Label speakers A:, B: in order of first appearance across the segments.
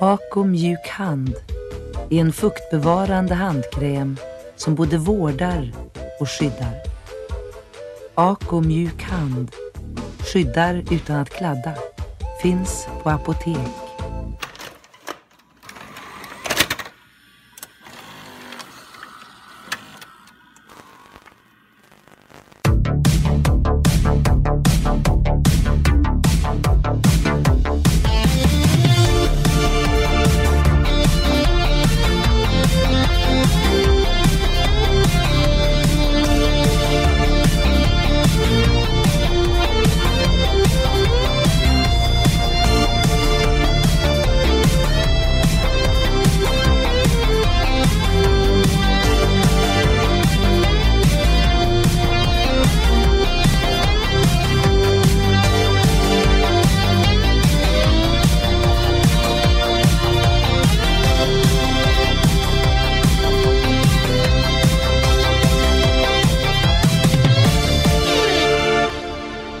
A: Ak och mjuk hand är en fuktbevarande handkräm som både vårdar och skyddar. Ak och mjuk hand skyddar utan att kladda. Finns på apotek.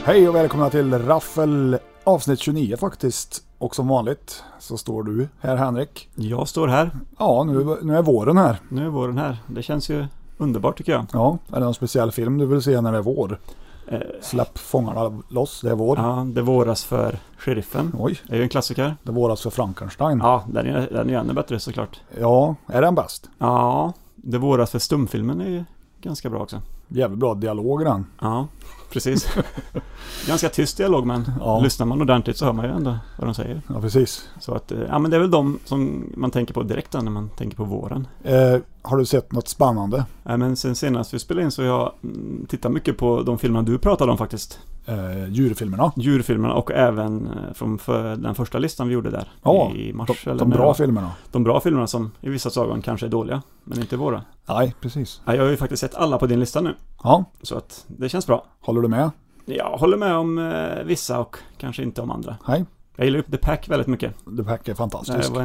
B: Hej och välkomna till Raffel avsnitt 29 faktiskt. Och som vanligt så står du här Henrik.
C: Jag står här.
B: Ja, nu, nu är våren här.
C: Nu är våren här. Det känns ju underbart tycker jag.
B: Ja, är det någon speciell film du vill se när det är vår? Släpp fångarna loss, det är vår.
C: Ja, det våras för sheriffen.
B: Oj,
C: Det är ju en klassiker.
B: det våras för Frankenstein.
C: Ja, den är, den är ännu bättre såklart.
B: Ja, är den bäst?
C: Ja, det våras för stumfilmen är ju ganska bra också.
B: Jävligt bra dialog i den.
C: Ja, precis. ganska tyst dialog men
B: Ja.
C: lyssnar man ordentligt så hör man ju ändå vad de säger.
B: Ja, precis.
C: Så att, eh, ja men det är väl de som man tänker på direkt då när man tänker på våren.
B: Eh, har du sett något spännande?
C: Nej men sen senast vi spelade in så har jag mm, tittat mycket på de filmerna du pratade om faktiskt.
B: Eh, djurfilmerna?
C: djurfilmerna och även eh, från för den första listan vi gjorde där
B: Ja,
C: i
B: De,
C: mars. eller
B: de
C: när det
B: bra
C: var.
B: filmerna?
C: de bra filmerna som i vissa ögon kanske är dåliga, men inte våra.
B: Nej, precis.
C: Ja, Jag har ju faktiskt sett alla på din lista nu,
B: Ja,
C: så att det känns bra.
B: håller du med?
C: Jag håller med om eh, vissa och kanske inte om andra.
B: Nej,
C: Jag gillar ju The Pack väldigt mycket.
B: The Pack är
C: Det
B: fantastisk.
C: var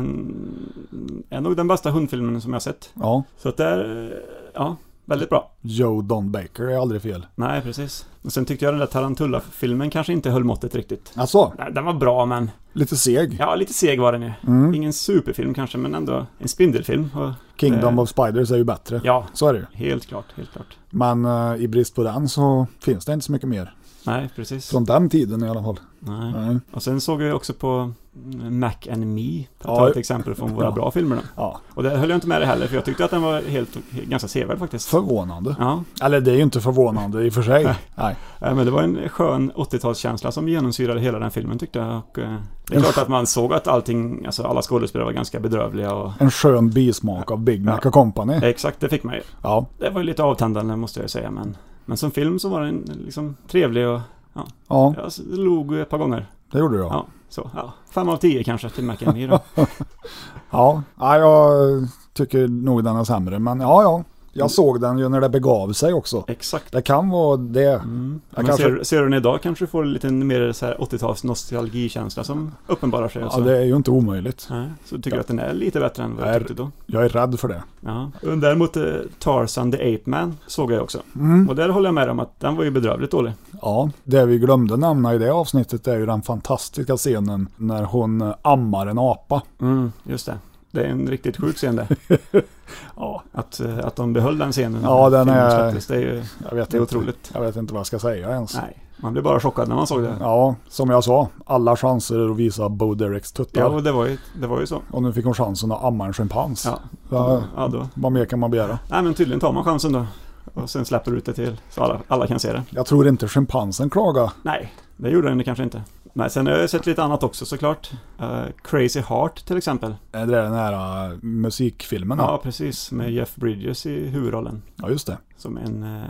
C: en, är nog den bästa hundfilmen som jag har sett.
B: Ja,
C: Så att det är, eh, ja, väldigt bra.
B: Joe Don Baker är aldrig fel.
C: Nej, precis. Och sen tyckte jag den där Tarantula-filmen kanske inte höll måttet riktigt.
B: Alltså,
C: Nej, Den var bra, men
B: lite seg.
C: ja, lite seg var den ju.
B: Mm.
C: Ingen superfilm kanske, men ändå en spindelfilm. Och,
B: Kingdom
C: Eh.
B: of Spiders är ju bättre.
C: ja,
B: Så är det ju.
C: helt klart, helt klart.
B: Men eh, i brist på den så finns det inte så mycket mer.
C: Nej, precis.
B: Från den tiden i alla fall.
C: Nej.
B: Nej.
C: Och sen såg jag också på mm, Mac and Me, för
B: Ja.
C: att ta ett exempel från våra
B: Ja.
C: bra filmer då.
B: Ja,
C: Och där höll jag inte med dig heller, för jag tyckte att den var helt, ganska sevärd faktiskt.
B: förvånande.
C: Ja,
B: Eller det är ju inte förvånande i och för sig. Nej.
C: Eh, men det var en skön 80-talskänsla som genomsyrade hela den filmen tyckte jag. Och eh, det är klart att man såg att allting, alltså alla skådespelare var ganska bedrövliga och...
B: En skön bismak av Big Mac
C: Ja.
B: och Company.
C: Exakt, det fick man ju.
B: Ja,
C: Det var ju lite avtändande måste jag ju säga, men... Men som film så var den liksom trevlig och
B: ja,
C: jag log ett par gånger.
B: det gjorde jag. Ja,
C: Ja, så. Ja. Fem av tio kanske till Mac and Me då.
B: ja. jag tycker nog den är sämre. Men ja, ja. Jag såg den ju när det begav sig också.
C: Exakt.
B: Det kan vara det.
C: Mm.
B: Jag
C: Men
B: kanske-
C: ser, ser du den idag kanske du får lite mer så här 80-tals nostalgikänsla som uppenbarar sig.
B: Ja,
C: så.
B: det är ju inte omöjligt.
C: Nej, så tycker jag att den är lite bättre än vad
B: Är-
C: jag tyckte då.
B: Jag är rädd för det.
C: Ja. Och Däremot eh, Tarzan the Ape Man såg jag också.
B: Mm.
C: Och där håller jag med om att den var ju bedrövligt dålig.
B: Ja, det vi glömde nämna i det avsnittet är ju den fantastiska scenen när hon ammar en apa.
C: Mm, just det. Det är en riktigt sjuk scen det.
B: Ja,
C: Att, eh, att de behöll den scenen. när
B: Ja, den
C: filmen
B: är-
C: släpptes, Det är ju
B: jag vet
C: det är
B: inte.
C: otroligt.
B: Jag vet inte vad jag ska säga ens.
C: Nej, man blev bara chockad när man såg det.
B: Ja, som jag sa, alla chanser att visa Bo Dereks tuttar.
C: Ja, och det var ju, det var ju så.
B: Och nu fick hon chansen att amma en schimpans.
C: Ja.
B: Ja,
C: Ja, då.
B: vad mer kan man begära?
C: Nej, men tydligen tar man chansen då. Och sen släpper du ut det till så alla, alla kan se det.
B: Jag tror inte schimpansen klagar.
C: Nej, det gjorde den kanske inte. Nej, sen har jag sett lite annat också såklart. Eh, Crazy Heart till exempel.
B: Det är den här äh, musikfilmen.
C: Ja,
B: Ja.
C: precis. Med Jeff Bridges i huvudrollen.
B: ja, just det.
C: Som en, eh,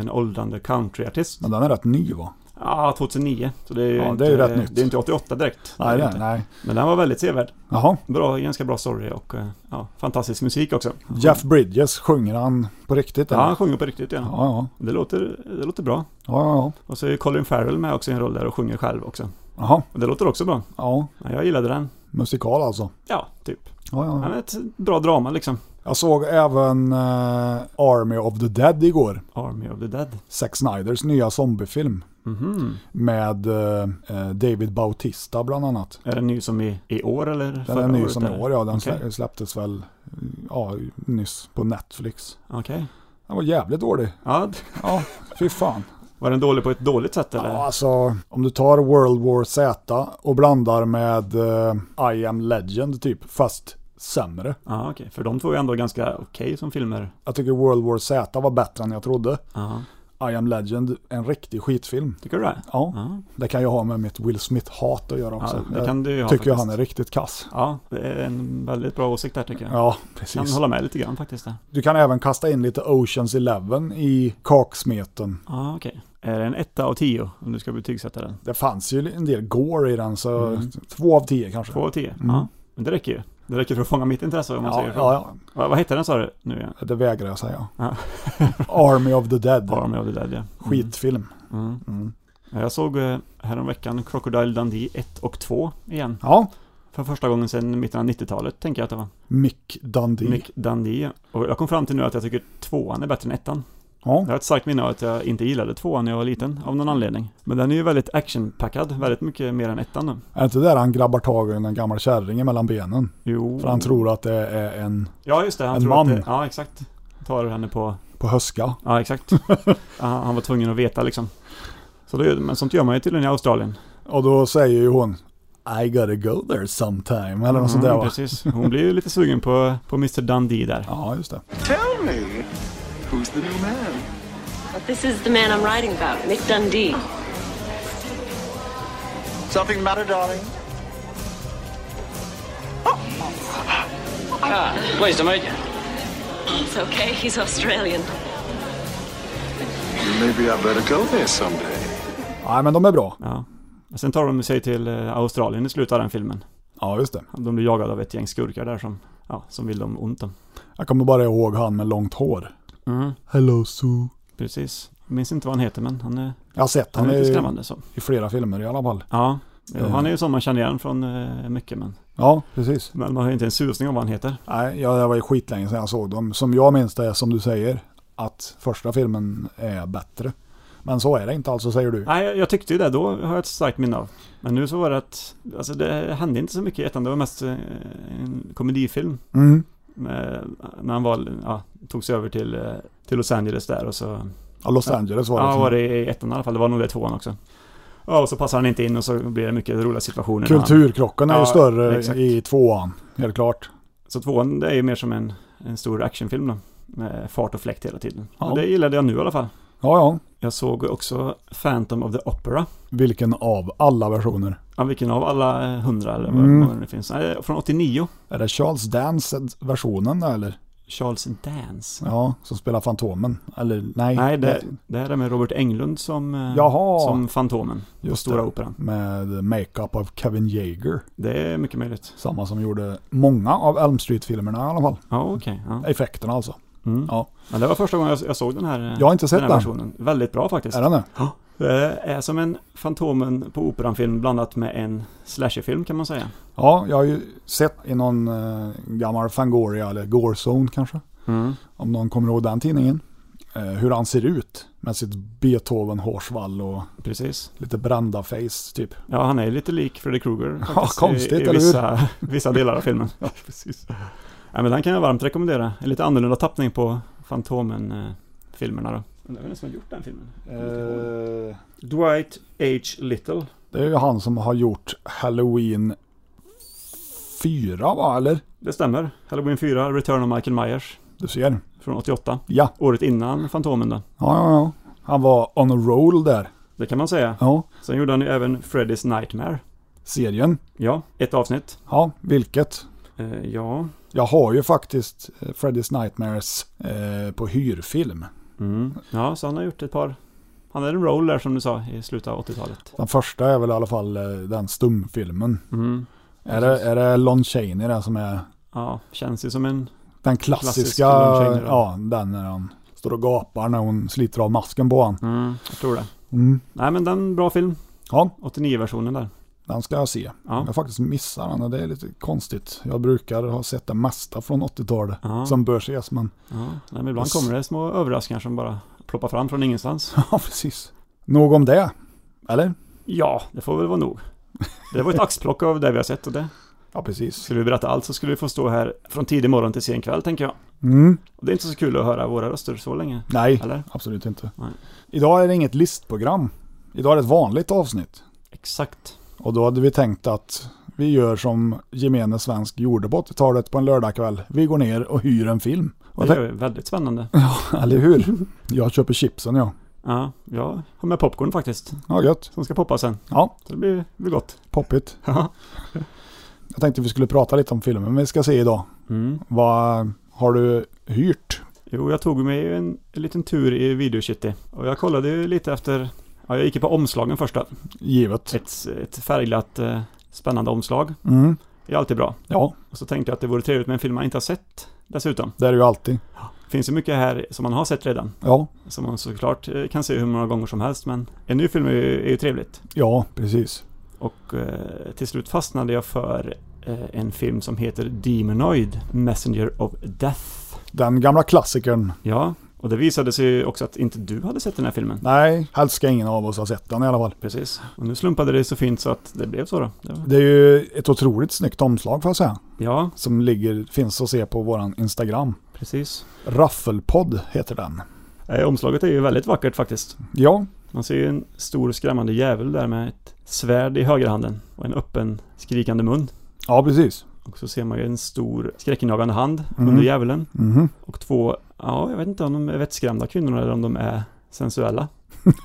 C: en åldrande countryartist.
B: Men den är rätt ny va?
C: Ja, 2009. Så det är ju
B: Ja,
C: inte,
B: det är ju rätt nytt.
C: Det är inte 88 direkt. Det är
B: Nej,
C: det
B: nej,
C: inte.
B: nej.
C: Men den var väldigt sevärd.
B: Jaha.
C: Bra, ganska bra story och eh, ja, fantastisk musik också.
B: Jeff Bridges, sjunger han på riktigt?
C: Ja,
B: eller?
C: han sjunger på riktigt ja.
B: ja, ja.
C: Det, låter, det låter bra.
B: Ja, ja,
C: Och så är Colin Farrell med också i en roll där och sjunger själv också.
B: ja. Jaha.
C: Och det låter också bra.
B: Ja,
C: Ja, jag gillade den.
B: musikal alltså.
C: Ja, typ.
B: Ja,
C: Ja,
B: ja.
C: men ett bra drama liksom.
B: Jag såg även eh, Army of the Dead igår.
C: Army of the Dead.
B: Zack Snyders nya zombiefilm.
C: Mhm.
B: Med eh, eh, David Bautista bland annat.
C: Är den ny som i, i år eller
B: Den
C: förra
B: är ny
C: året,
B: som i
C: eller?
B: år, ja. Den
C: Okej.
B: slä- släpptes väl ja, nyss på Netflix.
C: Okej.
B: Den var jävligt dålig.
C: Ja, d-
B: Ja, fy fan.
C: var den dålig på ett dåligt sätt eller?
B: Ja, alltså, om du tar World War Z och blandar med eh, I am legend typ, fast sämre.
C: Ja, okej. För de två är ändå ganska okej som filmer.
B: Jag tycker World War Z var bättre än jag trodde.
C: Ja.
B: I am legend, en riktig skitfilm.
C: Tycker du det?
B: Ja,
C: Ja.
B: det kan ju ha med mitt Will Smith-hat att göra
C: ja
B: också.
C: det kan du ju ha
B: jag tycker ju
C: faktiskt.
B: han är riktigt kass.
C: Ja, det är en väldigt bra åsikt där tycker jag.
B: Ja,
C: kan
B: precis.
C: hålla med lite grann faktiskt där.
B: Du kan även kasta in lite Oceans Eleven i kaksmeten.
C: Ja, okej. Är det en etta av tio om du ska betygsätta den?
B: Det fanns ju en del gore i den, så
C: Mm.
B: två av tio kanske.
C: Två av tio?
B: Mm.
C: Ja. Men det räcker ju. Det räcker för att fånga mitt intresse om man
B: ja,
C: säger så.
B: ja,
C: Vad, vad hette den sa du nu igen?
B: ja, det vägrar jag säga.
C: Ja.
B: Army of the Dead,
C: Army of the Dead ja. Mm.
B: skitfilm.
C: Mm.
B: Mm.
C: Ja, Jag såg eh, häromveckan Crocodile Dundee 1 och 2 igen.
B: Ja,
C: För första gången sedan mitten av 90-talet tänker jag att det var.
B: Mick Dundee.
C: Mick Dundee. ja. Och jag kom fram till nu att jag tycker tvåan är bättre än ettan.
B: Ja.
C: Jag har ett starkt minne av att jag inte gillade tvåan när jag var liten, av någon anledning. Men den är ju väldigt actionpackad, väldigt mycket mer än ettan nu.
B: Är det inte där han grabbar tag i en gammal kärring mellan benen?
C: Jo.
B: För han tror att det är en
C: Ja, just det. Han
B: En
C: tror
B: man.
C: Att det, ja, exakt. Tar henne på...
B: på höska.
C: Ja, exakt. Ja, han var tvungen att veta liksom. Så då, gör- men sånt gör man ju tydligen i Australien.
B: Och då säger ju hon I gotta go there sometime, eller något sånt där va?
C: Mm, precis. Hon blir ju lite sugen på, på Mr Dundee där.
B: Ja, just det.
D: Tell me, who's the new man?
E: This is the man I'm writing about, Mick Dundee.
D: Something the matter, darling?
F: Pleased to meet you.
E: It's okay, he's Australian.
D: Maybe I better go there someday.
B: Nej, men de är bra.
C: Ja. Men Sen tar de sig till eh, Australien i slutet av den filmen.
B: Ja, just det.
C: De blir jagade av ett gäng skurkar där som, ja, som vill dem ont. Om.
B: Jag kommer bara ihåg han med långt hår.
C: Mm,
B: Hello Sue.
C: precis. Jag minns inte vad han heter men han är,
B: Jag har sett
C: han
B: han
C: är lite
B: i,
C: skrämmande så.
B: i flera filmer i alla fall.
C: Ja.
B: Eh.
C: Han är ju sån man känner igen från eh, mycket men,
B: Ja, precis.
C: men man har ju inte en susning om vad han heter.
B: Nej, jag, det var ju skitlänge sedan jag såg dem. Som jag minns det, som du säger, att första filmen är bättre. Men så är det inte alls, så säger du.
C: Nej, jag- jag tyckte ju det då, har jag ett starkt minne av. Men nu så var det att, alltså det hände inte så mycket i ettan, det var mest eh, en komedifilm.
B: Mm.
C: Med, när han var, ja, tog sig över till, eh, till Los Angeles där och så,
B: Ja, Los Angeles var det.
C: ja, var det i ettan i alla fall, det var nog det i tvåan också. Ja, och så passar han inte in och så blir det mycket roliga situationer. när han-
B: Kulturkrocken är ju
C: Ja,
B: större
C: exakt.
B: i tvåan, helt klart.
C: Så tvåan, det är ju mer som en, en stor actionfilm då. Med fart och fläkt hela tiden.
B: Ja.
C: Och det gillade jag nu i alla fall.
B: Ja, ja.
C: Jag såg också Phantom of the Opera.
B: Vilken av alla versioner?
C: Ja, vilken av alla eh, hundra eller vad
B: Mm.
C: många det finns. Nej, från 89.
B: Är det Charles Dance-versionen eller?
C: Charles Dance.
B: Ja, som spelar Fantomen. Eller nej.
C: Nej, det, det här är med Robert Englund som, eh,
B: Jaha.
C: som Fantomen på
B: Just
C: Stora
B: det.
C: Operan.
B: Med makeup av Kevin Yeager.
C: Det är mycket möjligt.
B: Samma som gjorde många av Elm Street-filmerna i alla fall.
C: Ja, okej. ja.
B: Effekterna alltså.
C: Mm.
B: Ja.
C: Men det var första gången jag, jag såg den här, eh,
B: Jag har inte sett
C: den
B: den.
C: här versionen. Väldigt bra faktiskt.
B: Är den det?
C: Det är som en Fantomen på Operan-film blandat med en slasherfilm kan man säga.
B: Ja, jag har ju sett i någon eh, gammal Fangoria eller Gorezone kanske.
C: Mm.
B: Om någon kommer ihåg den tidningen. Eh, hur han ser ut med sitt Beethoven-hårsvall och
C: Precis.
B: lite brända face typ.
C: Ja, han är ju lite lik Freddy Krueger
B: Ja,
C: faktiskt,
B: konstigt,
C: i, i
B: eller hur?
C: vissa, vissa delar av filmen. ja, precis. Ja, men den kan jag varmt rekommendera. En lite annorlunda tappning på Fantomen-filmerna då. Undrar vem som har gjort den filmen? Dwight H. Little.
B: Det är ju han som har gjort Halloween 4 va, eller?
C: Det stämmer. Halloween 4, Return of Michael Myers.
B: Du ser.
C: Från 88.
B: Ja,
C: Året innan Fantomen då.
B: ja, ja. ja. Han var on a roll där.
C: Det kan man säga.
B: Ja,
C: Sen gjorde han ju även Freddy's Nightmare.
B: serien.
C: Ja, ett avsnitt.
B: Ja, vilket?
C: Eh, ja.
B: Jag har ju faktiskt eh, Freddy's Nightmares eh, på hyrfilm.
C: Mm. Ja, så han har gjort ett par... Han är en roll där som du sa i slutet av 80-talet.
B: Den första är väl i alla fall eh, den stumfilmen.
C: Mm.
B: Är det, är det Lon Chaney där som är
C: Ja, känns ju som en...
B: den
C: Klassisk
B: klassiska?
C: Lon Chaney, då.
B: ja, den när han står och gapar när hon sliter av masken på honom.
C: Mm, jag tror det.
B: Mm.
C: Nej men den, bra film.
B: Ja,
C: 89-versionen där.
B: den ska jag se.
C: Ja.
B: Jag har faktiskt missat den och det är lite konstigt. Jag brukar ha sett det mesta från 80-talet
C: Ja.
B: som bör ses, men
C: Ja. Nej, men ibland kommer det små överraskningar som bara ploppar fram från ingenstans.
B: ja, precis. Nog om det. Eller?
C: Ja, det får väl vara nog. Det var ett axplock av det vi har sett och det.
B: Ja, precis.
C: Skulle vi berätta allt så skulle vi få stå här från tidig morgon till sen kväll, tänker jag.
B: Mm.
C: Och det är inte så kul att höra våra röster så länge.
B: Nej,
C: Eller?
B: absolut inte.
C: Nej.
B: Idag är det inget listprogram. Idag är det ett vanligt avsnitt.
C: Exakt.
B: Och då hade vi tänkt att vi gör som gemene svensk gjorde på 80-talet på en lördagkväll. Vi går ner och hyr en film.
C: Det
B: Och
C: är ju väldigt spännande.
B: Eller hur? Jag köper chipsen ja.
C: Ja, jag har med popcorn faktiskt.
B: Ja, gött.
C: Som ska poppa sen.
B: Ja,
C: Så det blir, blir gott.
B: poppigt.
C: Ja.
B: Jag tänkte vi skulle prata lite om filmen vi ska se idag.
C: Mm.
B: Vad har du hyrt?
C: Jo, jag tog mig en, en liten tur i Videocity. Och jag kollade ju lite efter... Ja, jag gick ju på omslagen första.
B: Givet.
C: Ett, ett färgglatt, eh, spännande omslag.
B: Mm.
C: Det är alltid bra.
B: Ja,
C: Och så tänkte jag att det vore trevligt med en film man inte har sett dessutom.
B: det är det ju alltid.
C: Det finns ju mycket här som man har sett redan.
B: Ja,
C: Som man såklart eh, kan se hur många gånger som helst, men en ny film är ju, är ju trevligt.
B: ja, precis.
C: Och eh, till slut fastnade jag för eh, en film som heter Demonoid, Messenger of Death.
B: Den gamla klassikern.
C: Ja, och det visade sig ju också att inte du hade sett den här filmen.
B: Nej, helst ska ingen av oss ha sett den i alla fall.
C: Precis. Och nu slumpade det så fint så att det blev så då. Det var...
B: Det är ju ett otroligt snyggt omslag får jag säga.
C: Ja,
B: Som ligger, finns att se på våran Instagram.
C: precis.
B: Raffelpodd heter den.
C: Eh, omslaget är ju väldigt vackert faktiskt.
B: Ja,
C: Man ser ju en stor skrämmande djävul där med ett svärd i högerhanden och en öppen skrikande mun.
B: ja precis.
C: Och så ser man ju en stor skräckinjagande hand
B: Mm.
C: under djävulen.
B: Mhm.
C: Och två, ja jag vet inte om de är vettskrämda kvinnor eller om de är sensuella.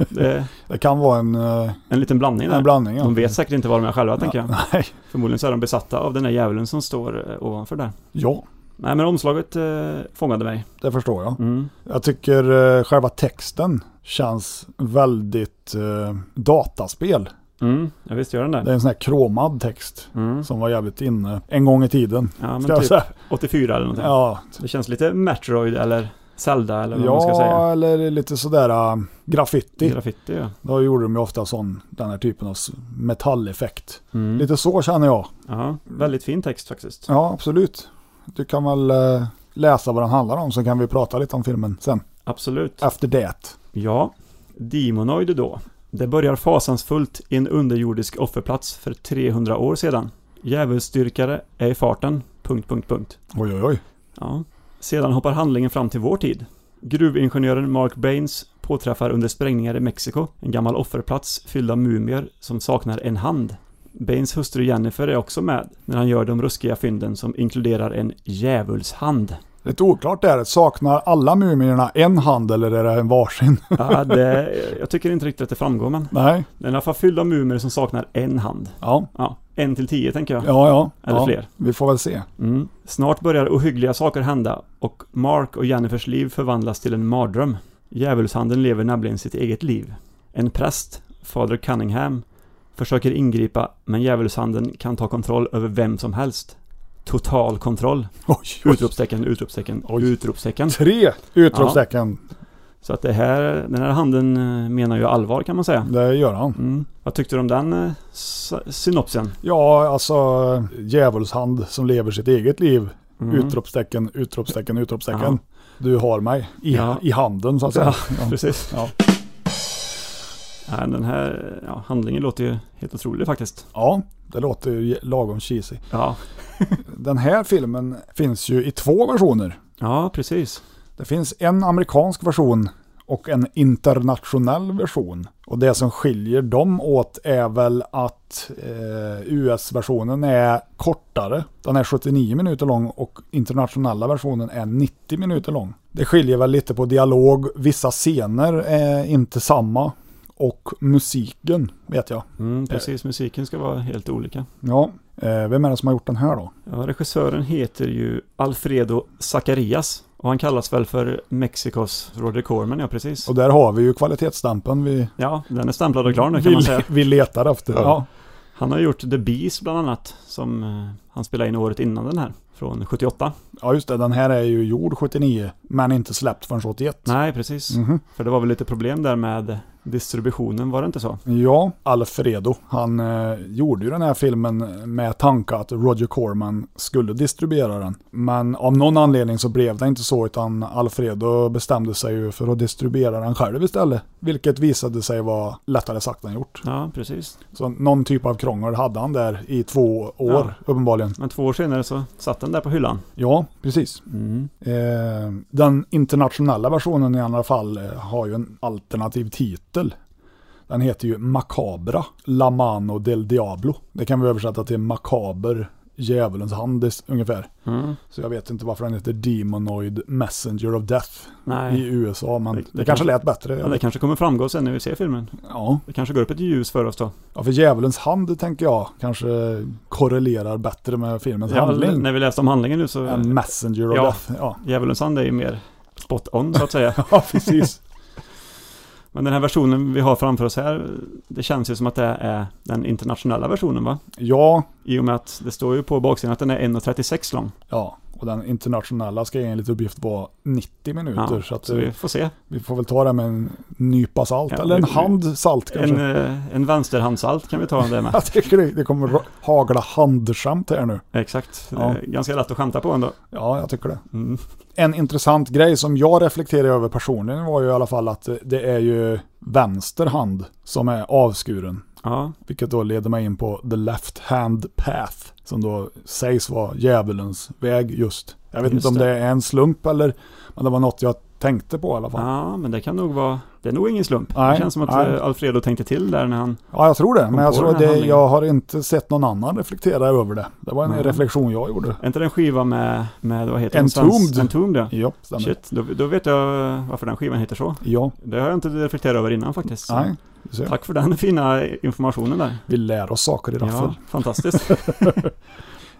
C: Det är
B: Det kan vara en, eh,
C: en liten blandning där.
B: en blandning. ja.
C: De vet säkert inte vad de är själva tänker jag.
B: Nej.
C: Förmodligen så är de besatta av den där djävulen som står eh, ovanför där.
B: Ja,
C: Nej men omslaget eh, fångade mig.
B: det förstår jag.
C: Mm.
B: Jag tycker eh, själva texten känns väldigt eh, dataspel.
C: Mm, jag visst gör den
B: Det är
C: där.
B: en sån här kromad text
C: Mm.
B: som var jävligt inne en gång i tiden.
C: Ja
B: Ska
C: men
B: jag
C: typ
B: säga.
C: 84 eller någonting.
B: Ja,
C: Det känns lite Metroid eller Zelda eller vad man ska säga.
B: ja eller lite sådär äh, graffiti.
C: Graffiti ja.
B: Då gjorde de ju ofta sån, den här typen av s- metalleffekt.
C: Mm.
B: Lite så känner jag.
C: ja. Väldigt fin text faktiskt.
B: Ja, absolut. Du kan väl eh, läsa vad den handlar om så kan vi prata lite om filmen sen.
C: Absolut.
B: Efter det.
C: Ja, Demonoid då. Det börjar fasansfullt i en underjordisk offerplats för 300 år sedan. Djävulsdyrkare är i farten. Punkt, punkt, punkt.
B: Oj, oj, oj.
C: Ja. Sedan hoppar handlingen fram till vår tid. Gruvingenjören Mark Baines påträffar under sprängningar i Mexiko en gammal offerplats fylld av mumier som saknar en hand. Baines hustru Jennifer är också med när han gör de ruskiga fynden som inkluderar en djävulshand.
B: Lite oklart där. Saknar alla mumierna en hand eller är det en varsin?
C: Ja, det, jag tycker inte riktigt att det framgår men
B: Nej.
C: den är i alla fall fylld av mumier som saknar en hand.
B: Ja,
C: Ja, en till tio tänker jag.
B: ja, ja.
C: Eller
B: ja.
C: fler.
B: Vi får väl se.
C: Mm. Snart börjar ohyggliga saker hända och Mark och Jennifers liv förvandlas till en mardröm. Djävulshanden lever nämligen sitt eget liv. En präst, Fader Cunningham, försöker ingripa men djävulshanden kan ta kontroll över vem som helst. Total kontroll!
B: Oj, oj.
C: Utropstecken, utropstecken,
B: Oj.
C: utropstecken.
B: Tre utropstecken.
C: Så att det här, den här handen eh, menar ju allvar kan man säga.
B: Det gör han.
C: Mm. Vad tyckte du om den eh, s- synopsen?
B: Ja, alltså djävulshand som lever sitt eget liv.
C: Mm.
B: Utropstecken, utropstecken, utropstecken.
C: Ja.
B: Du har mig i,
C: Ja.
B: i handen så att säga.
C: Ja,
B: Ja.
C: precis.
B: Ja.
C: Nej, den här ja, handlingen låter ju helt otrolig faktiskt.
B: ja, det låter ju lagom cheesy.
C: Ja,
B: Den här filmen finns ju i två versioner.
C: ja precis.
B: Det finns en amerikansk version och en internationell version. Och det som skiljer dem åt är väl att eh, US-versionen är kortare. Den är 79 minuter lång och internationella versionen är 90 minuter lång. Det skiljer väl lite på dialog, vissa scener är inte samma och musiken vet jag.
C: Mm, precis, musiken ska vara helt olika.
B: Ja, eh, vem är det som har gjort den här då?
C: Ja, regissören heter ju Alfredo Zacarias och han kallas väl för Mexikos Roger Corman, ja precis.
B: Och där har vi ju kvalitetsstämpeln vi,
C: Ja, den är stämplad och klar nu kan
B: vi,
C: man säga.
B: vi letar efter. Ja.
C: Han har gjort The Beast bland annat, som eh, han spelade in året innan den här. Från 78.
B: Ja just det, den här är ju gjord 79 men inte släppt förrän 81.
C: Nej, precis.
B: Mhm.
C: För det var väl lite problem där med distributionen, var det inte så?
B: Ja, Alfredo, han eh, gjorde ju den här filmen med tanke att Roger Corman skulle distribuera den. Men av någon anledning så blev det inte så utan Alfredo bestämde sig ju för att distribuera den själv istället. Vilket visade sig vara lättare sagt än gjort.
C: Ja, precis.
B: Så någon typ av krångel hade han där i två år uppenbarligen.
C: Men två år senare så satt den där på hyllan.
B: Ja, precis.
C: Mm.
B: Eh, den internationella versionen i alla fall eh, har ju en alternativ titel. Den heter ju Macabra, La Mano del Diablo. Det kan vi översätta till Makaber, Djävulens hand is- ungefär.
C: Mm.
B: Så jag vet inte varför den heter Demonoid Messenger of Death
C: Nej.
B: i USA, men
C: Det-
B: det, kanske
C: det kanske-
B: lät bättre.
C: Ja, det kanske kommer framgå sen när vi ser filmen.
B: Ja.
C: Det kanske går upp ett ljus för oss då.
B: ja, för Djävulens hand tänker jag kanske korrelerar bättre med filmens
C: Ja,
B: Alltså, handling
C: när vi läste om handlingen nu så...
B: än Messenger of
C: Ja.
B: Death. Ja,
C: Djävulens hand är ju mer spot on så att säga.
B: ja precis.
C: Men den här versionen vi har framför oss här, det känns ju som att det är den internationella versionen va?
B: ja,
C: I och med att det står ju på baksidan att den är 1.36 lång.
B: Ja, och den internationella ska enligt uppgift vara 90 minuter.
C: Ja,
B: så att,
C: så
B: eh,
C: vi får se.
B: vi får väl ta det med en nypa salt,
C: Ja,
B: eller en
C: vi- vi-
B: hand salt
C: En,
B: kanske.
C: eh, en vänsterhandsalt kan vi ta om det med.
B: jag tycker det, det kommer ra- hagla handskämt här nu.
C: Exakt.
B: Ja.
C: Det är Ganska lätt att skämta på ändå.
B: Ja, jag tycker det.
C: Mm.
B: En intressant grej som jag reflekterade över personligen var ju i alla fall att eh, det är ju vänster hand som är avskuren.
C: Ja,
B: Vilket då leder mig in på the left hand path. Som då sägs vara djävulens väg just. Jag vet
C: Just
B: inte om
C: det.
B: det är en slump eller, men det var något jag tänkte på i alla fall.
C: ja men det kan nog vara... Det är nog ingen slump. det
B: Nej,
C: känns som att
B: nej.
C: eh, Alfredo tänkte till där när han...
B: Ja, jag tror det. Men jag,
C: på
B: tror
C: den här
B: det,
C: handlingen.
B: jag har inte sett någon annan reflektera över det. Det var en
C: Nej.
B: reflektion jag gjorde.
C: Är inte den skiva med, med vad heter den?
B: Entombed.
C: Svensk- Entombed. ja.
B: Ja, stämmer.
C: Shit, då, då vet jag varför den skivan heter så.
B: Ja,
C: Det har jag inte reflekterat över innan faktiskt. Så
B: nej. du ser.
C: Tack för den fina informationen där.
B: Vi lär oss saker i raffel.
C: Ja, fantastiskt.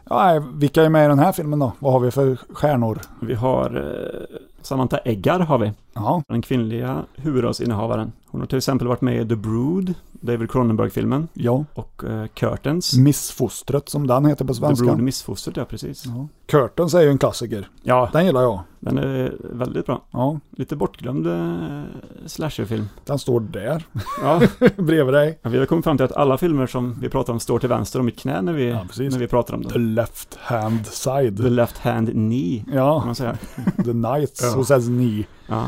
B: Ja. nej, vilka är med i den här filmen då? Vad har vi för stjärnor?
C: Vi har eh, Samantha Eggar har vi,
B: Ja,
C: den kvinnliga huvudrollsinnehavaren. Hon har till exempel varit med i The Brood, David Cronenberg-filmen,
B: ja.
C: och eh, Curtains.
B: Missfostret som den heter på
C: The Brood
B: Mm, svenska.
C: Missfostret, ja precis.
B: Ja. Curtains är ju en klassiker.
C: Ja,
B: Den gillar jag.
C: den är väldigt bra.
B: Ja,
C: Lite bortglömd eh, slasherfilm.
B: den står där
C: Ja,
B: bredvid dig.
C: vi har kommit fram till att alla filmer som vi pratar om står till vänster om mitt knä när vi,
B: Ja, precis.
C: när vi pratar om
B: The
C: dem.
B: left hand
C: The
B: side.
C: left hand knee, kan
B: Ja,
C: man säga.
B: the knights
C: Ja.
B: who says knee.
C: Ja.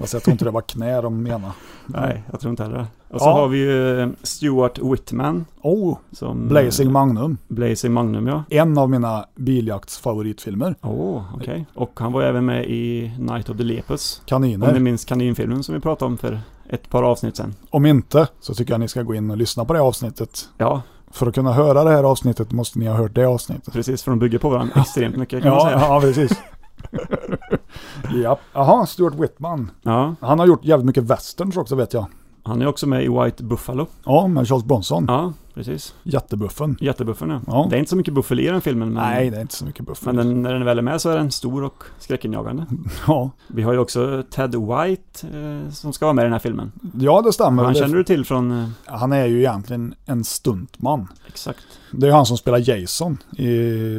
B: Alltså, jag tror inte det var knä de menade.
C: Nej, jag tror inte heller det. Och så
B: Ja.
C: har vi ju eh, Stuart Whitman
B: Oh,
C: som... eh,
B: Blazing Magnum.
C: Blazing Magnum, ja.
B: En av mina biljaktsfavoritfilmer.
C: Åh, okej. Och han var även med i Night of the Lepus. Om ni
B: Kaniner.
C: minns kaninfilmen som vi pratade om för ett par avsnitt sedan.
B: Om inte så tycker jag ni ska gå in och lyssna på det avsnittet.
C: Ja,
B: För att kunna höra det här avsnittet måste ni ha hört det avsnittet.
C: precis, för de bygger på varandra extremt mycket kan man
B: Ja,
C: säga.
B: ja precis. ja. Jaha, Stuart Whitman.
C: Ja,
B: Han har gjort jävligt mycket westerns också vet jag.
C: han är också med i White Buffalo.
B: Ja, med Charles Bronson.
C: Ja, precis.
B: Jättebuffen.
C: Jättebuffen ja.
B: Ja.
C: Det är inte så mycket buffel i den filmen, men,
B: Nej, det är inte så mycket buffen.
C: men den, när den väl är med så är den stor och skräckinjagande.
B: Ja.
C: Vi har ju också Ted White eh, som ska vara med i den här filmen.
B: ja, det stämmer.
C: han
B: Det-
C: känner du till från... Eh,
B: han är ju egentligen en stuntman.
C: exakt.
B: Det är han som spelar Jason i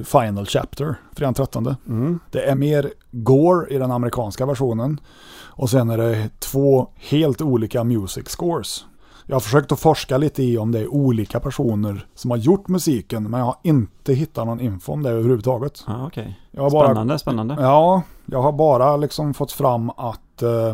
B: Final Chapter, fredagen 13.
C: Mm.
B: Det är mer gore i den amerikanska versionen. Och sen är det två helt olika music scores. Jag har försökt att forska lite i om det är
C: Mm.
B: olika personer som har gjort musiken, men jag har inte hittat någon info om det överhuvudtaget.
C: Ja, okej.
B: Jag har bara,
C: Spännande, spännande.
B: ja, jag har bara liksom fått fram att eh,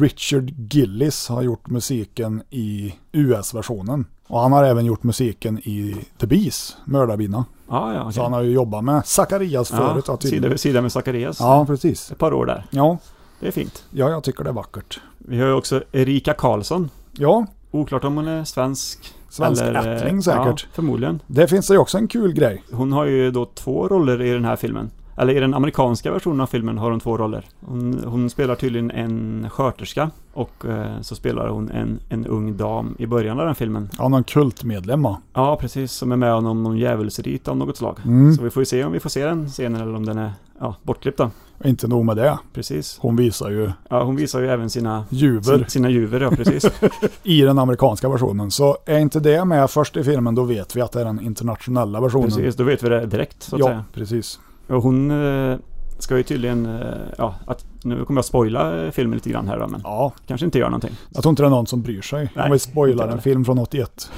B: Richard Gillis har gjort musiken i US-versionen. Och han har även gjort musiken i The Bees, Mördarbina.
C: Ja, ja,
B: Så han
C: okej.
B: har ju jobbat med Zacharias förut. Ja,
C: Ja, sida
B: tydligen.
C: vid sida med Zacharias.
B: ja precis.
C: Ett par år där.
B: Ja,
C: Det är fint.
B: Ja, jag tycker det är vackert.
C: Vi har ju också Erika Karlsson.
B: Ja,
C: Oklart om hon är svensk.
B: svensk
C: eh,
B: ättling säkert.
C: Ja, förmodligen.
B: Det finns det ju också en kul grej.
C: Hon har ju då två roller i den här filmen. Eller i den amerikanska versionen av filmen har hon två roller. Hon, hon spelar tydligen en sköterska och eh, så spelar hon en, en ung dam i början av den filmen.
B: Ja, någon kultmedlem va?
C: Ja, precis, som är med om någon, någon djävulsrit av något slag.
B: Mm.
C: Så vi får ju se om vi får se den scenen eller om den är ja, bortklippt då.
B: Och Inte nog med det.
C: Precis.
B: Hon visar ju
C: Ja, hon visar ju även sina,
B: juver
C: sin, sina juver, ja precis.
B: i den amerikanska versionen. Så är inte det med först i filmen, då vet vi att det är den internationella versionen.
C: precis. Då vet vi det direkt så att
B: ja,
C: säga.
B: precis.
C: Och hon eh, ska ju tydligen, eh, ja, att, nu kommer jag spoila eh, filmen lite grann här då, men
B: Ja,
C: kanske inte gör någonting.
B: jag tror inte det är någon som bryr sig
C: Nej,
B: om vi spoilar
C: inte
B: en
C: heller.
B: film från 81.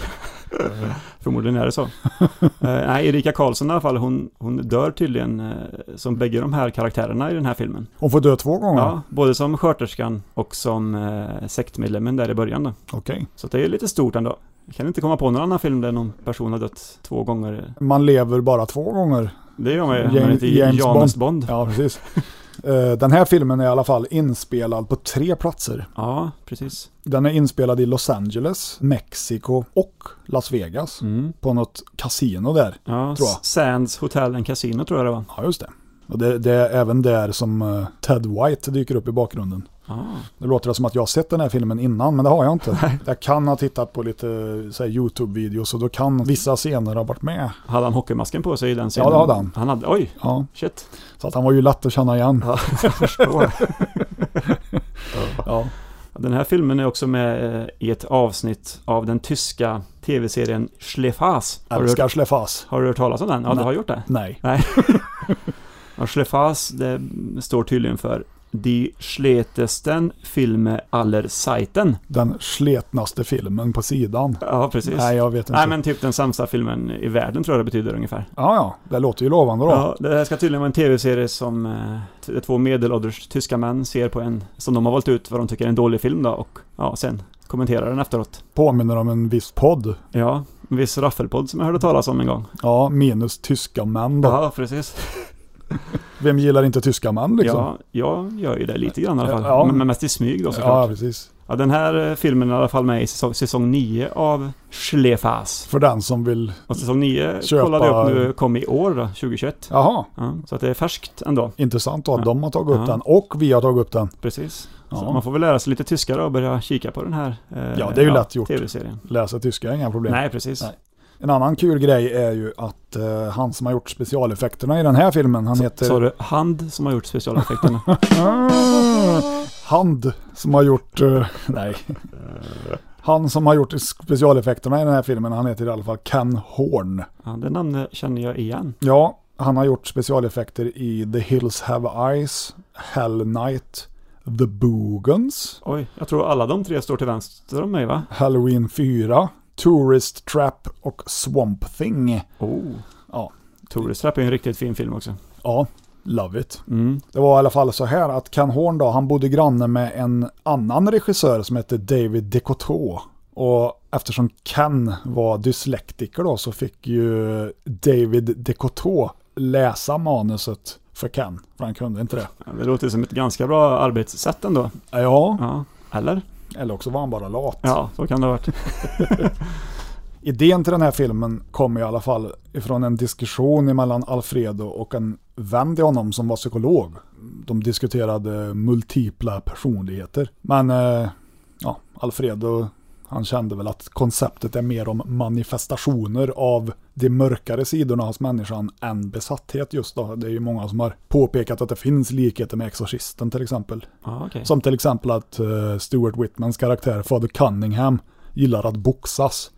C: Förmodligen är det så. Eh, nej, Erika Karlsson i alla fall, hon, hon dör tydligen eh, som bägge de här karaktärerna i den här filmen.
B: Hon får dö två gånger?
C: Ja, både som sköterskan och som eh, sektmedlemmen där i början då.
B: Okej.
C: Så det är lite stort ändå. Jag kan inte komma på någon annan film där någon person har dött två gånger.
B: Man lever bara två gånger.
C: Det gör man ju,
B: James-
C: James, inte
B: James
C: James, James Bond.
B: Ja, precis. Eh, Den här filmen är i alla fall inspelad på tre platser.
C: Ja, precis.
B: Den är inspelad i Los Angeles, Mexiko och Las Vegas. På något kasino där.
C: Ja,
B: Mm. Tror jag.
C: S- Sands Hotel and Casino tror jag det var.
B: Ja, just det. Och det, det är även där som eh, Ted White dyker upp i bakgrunden.
C: Ja,
B: Det låter som att jag har sett den här filmen innan, men det har jag inte. Jag kan ha tittat på lite eh, så här, YouTube-videos och då kan vissa scener ha varit med.
C: Hade han hockeymasken på sig i den scenen?
B: det hade han.
C: han hade, oj,
B: Ja,
C: shit.
B: så att han var ju lätt att känna igen.
C: Ja, jag förstår.
B: Ja.
C: Den här filmen är också med eh, i ett avsnitt av den tyska tv-serien Schlefas. Har du, hört,
B: Älskar Schlefas.
C: har du hört talas om den? Ja, du har gjort det.
B: Nej.
C: Ja, Schlefas, det står tydligen för Die schletesten Filme aller Zeiten.
B: Den sletnaste filmen på sidan.
C: Ja, precis.
B: Nej, jag vet inte.
C: Nej, men typ den sämsta filmen i världen tror jag det betyder ungefär.
B: Ja, ja, det låter ju lovande då.
C: Ja, det här ska tydligen vara en tv-serie som eh, t- två medelålders tyska män ser på en, som de har valt ut vad de tycker är en dålig film då och ja, sen kommenterar den efteråt.
B: Påminner om en viss podd.
C: Ja, en viss raffelpodd som jag hörde talas om en gång.
B: Ja, minus tyska män då.
C: Ja, precis.
B: Vem gillar inte tyska män liksom?
C: Ja, jag gör ju det lite grann i alla fall.
B: Ja.
C: Men, men mest i smyg då
B: ja
C: såklart.
B: precis.
C: Ja, den här eh, filmen är i alla fall med i säsong, säsong 9 av Schlefas.
B: För den som vill...
C: Och säsong 9
B: Köpa-
C: kollade jag upp nu, kom i år då, 2021.
B: Jaha,
C: Ja, så att det är färskt ändå,
B: intressant då att
C: Ja.
B: de har tagit upp
C: Ja.
B: den och vi har tagit upp den.
C: precis.
B: Ja.
C: Så man får väl lära sig lite tyska då och börja kika på den här eh,
B: Ja, det är ju lätt gjort.
C: tv-serien.
B: Läsa tyska är inga problem.
C: Nej, precis.
B: Nej. En annan kul grej är ju att eh, han som har gjort specialeffekterna i den här filmen, han heter...
C: Så du, Hand som har gjort specialeffekterna.
B: Ah, hand som har gjort... eh, nej. Han som har gjort specialeffekterna i den här filmen, han heter i alla fall Ken Horn.
C: ja, det namnet känner jag igen.
B: Ja, han har gjort specialeffekter i The Hills Have Eyes, Hell Night, The Boogans,
C: Oj, jag tror alla de tre står till vänster om mig va?
B: Halloween 4, Tourist Trap och Swamp Thing.
C: Oh.
B: Ja.
C: Tourist Trap är ju en riktigt fin film också.
B: Ja, love it.
C: Mm.
B: Det var i alla fall så här att Ken Horn då, han bodde granne med en annan regissör som hette David Decoteau. Och eftersom Ken var dyslektiker då så fick ju David Decoteau läsa manuset för Ken, för han kunde inte det.
C: Ja, Det låter som ett ganska bra arbetssätt ändå.
B: Ja,
C: Ja. Eller?
B: eller också var han bara lat.
C: Ja, så kan det ha varit.
B: Idén till den här filmen kom i alla fall ifrån en diskussion mellan Alfredo och en vän till honom som var psykolog. De diskuterade multipla personligheter. Men eh, ja, Alfredo han kände väl att konceptet är mer om manifestationer av de mörkare sidorna hos människan än besatthet just då. Det är ju många som har påpekat att det finns likheter med Exorcisten till exempel.
C: Ja, okej.
B: Som till exempel att eh, Stuart Whitmans karaktär Father Cunningham gillar att boxas.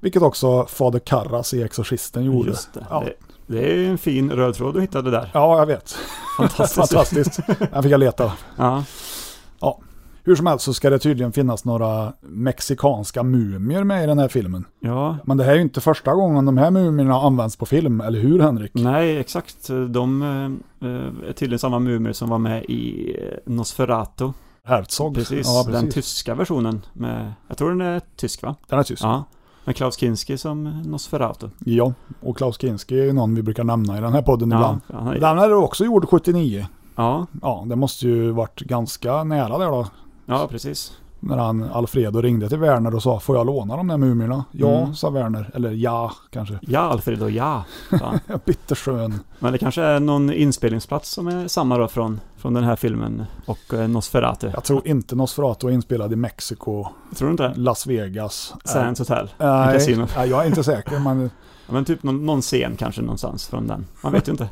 B: Vilket också Fader Karras i Exorcisten gjorde.
C: Just det.
B: Ja.
C: det. Det är en fin röd tråd du hittade där.
B: ja, jag vet.
C: Fantastiskt.
B: Fantastiskt. Den fick jag leta.
C: Ja.
B: Hur som helst så ska det tydligen finnas några mexikanska mumier med i den här filmen.
C: ja,
B: Men det här är ju inte första gången de här mumierna används på film, eller hur Henrik?
C: nej exakt. De eh, eh, är tydligen samma mumier som var med i eh, Nosferatu.
B: Herzog.
C: Precis,
B: Ja,
C: den
B: precis.
C: tyska versionen med, jag tror den är tysk va?
B: Den är tysk. Ja.
C: Ja. Med Klaus Kinski som Nosferatu.
B: Och Klaus Kinski är ju någon vi brukar nämna i den här podden
C: Ja,
B: ibland.
C: han är,
B: Den är också gjord 79.
C: ja,
B: Ja, det måste ju varit ganska nära där då.
C: ja, precis.
B: När han, Alfredo ringde till Werner och sa Får jag låna de där mumierna? Ja,
C: Mm.
B: sa Werner. Eller ja, kanske.
C: Ja, Alfredo, ja. sa han.
B: Bitterskön.
C: Men det kanske är någon inspelningsplats som är samma då från, från den här filmen och eh, Nosferatu.
B: Jag tror inte Nosferatu är inspelad i Mexiko,
C: Tror du inte det?
B: Las Vegas. Äh,
C: Sands Hotel.
B: Nej,
C: i Casino.
B: nej, jag är inte säker, men
C: Ja, men typ någon, någon scen kanske någonstans från den. Man vet ju inte.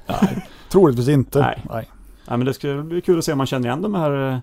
B: troligtvis inte.
C: Nej. Ja, men det skulle bli kul att se om man känner igen de här eh,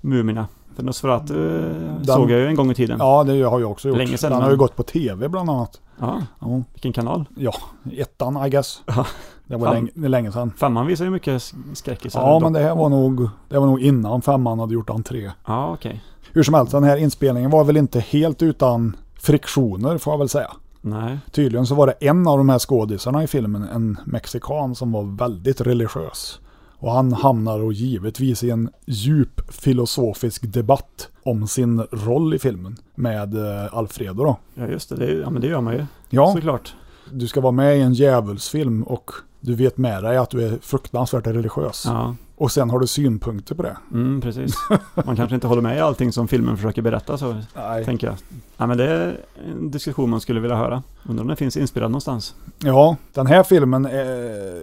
C: mumierna. För Nosferatu eh, såg jag ju en gång i tiden.
B: Ja, det har jag också gjort.
C: Länge sedan,
B: Den har
C: men-
B: ju gått på tv bland annat.
C: Ja,
B: Ja,
C: vilken kanal.
B: ja ettan I guess.
C: Ja.
B: Det var
C: Fan.
B: länge, det är länge sedan.
C: Femman visar ju mycket sk- skräckisar.
B: Ja,
C: dock.
B: men det här var nog, det var nog innan femman hade gjort entré.
C: Ja, okej.
B: Hur som helst, den här inspelningen var väl inte helt utan friktioner får jag väl säga.
C: Nej.
B: Tydligen så var det en av de här skådisarna i filmen, en mexikan som var väldigt religiös. Och han hamnar och givetvis i en djup filosofisk debatt om sin roll i filmen med eh, Alfredo då.
C: Ja, just det. det är, ju- ja, men det gör man ju.
B: Ja,
C: Såklart.
B: du ska vara med i en djävulsfilm och du vet med dig att du är fruktansvärt religiös.
C: Ja,
B: Och sen har du synpunkter på det.
C: mm, precis. Man kanske inte håller med i allting som filmen försöker berätta, så
B: Nej.
C: tänker jag. Ja, men det är en diskussion man skulle vilja höra. Undrar om den finns inspelad någonstans.
B: Ja, den här filmen eh,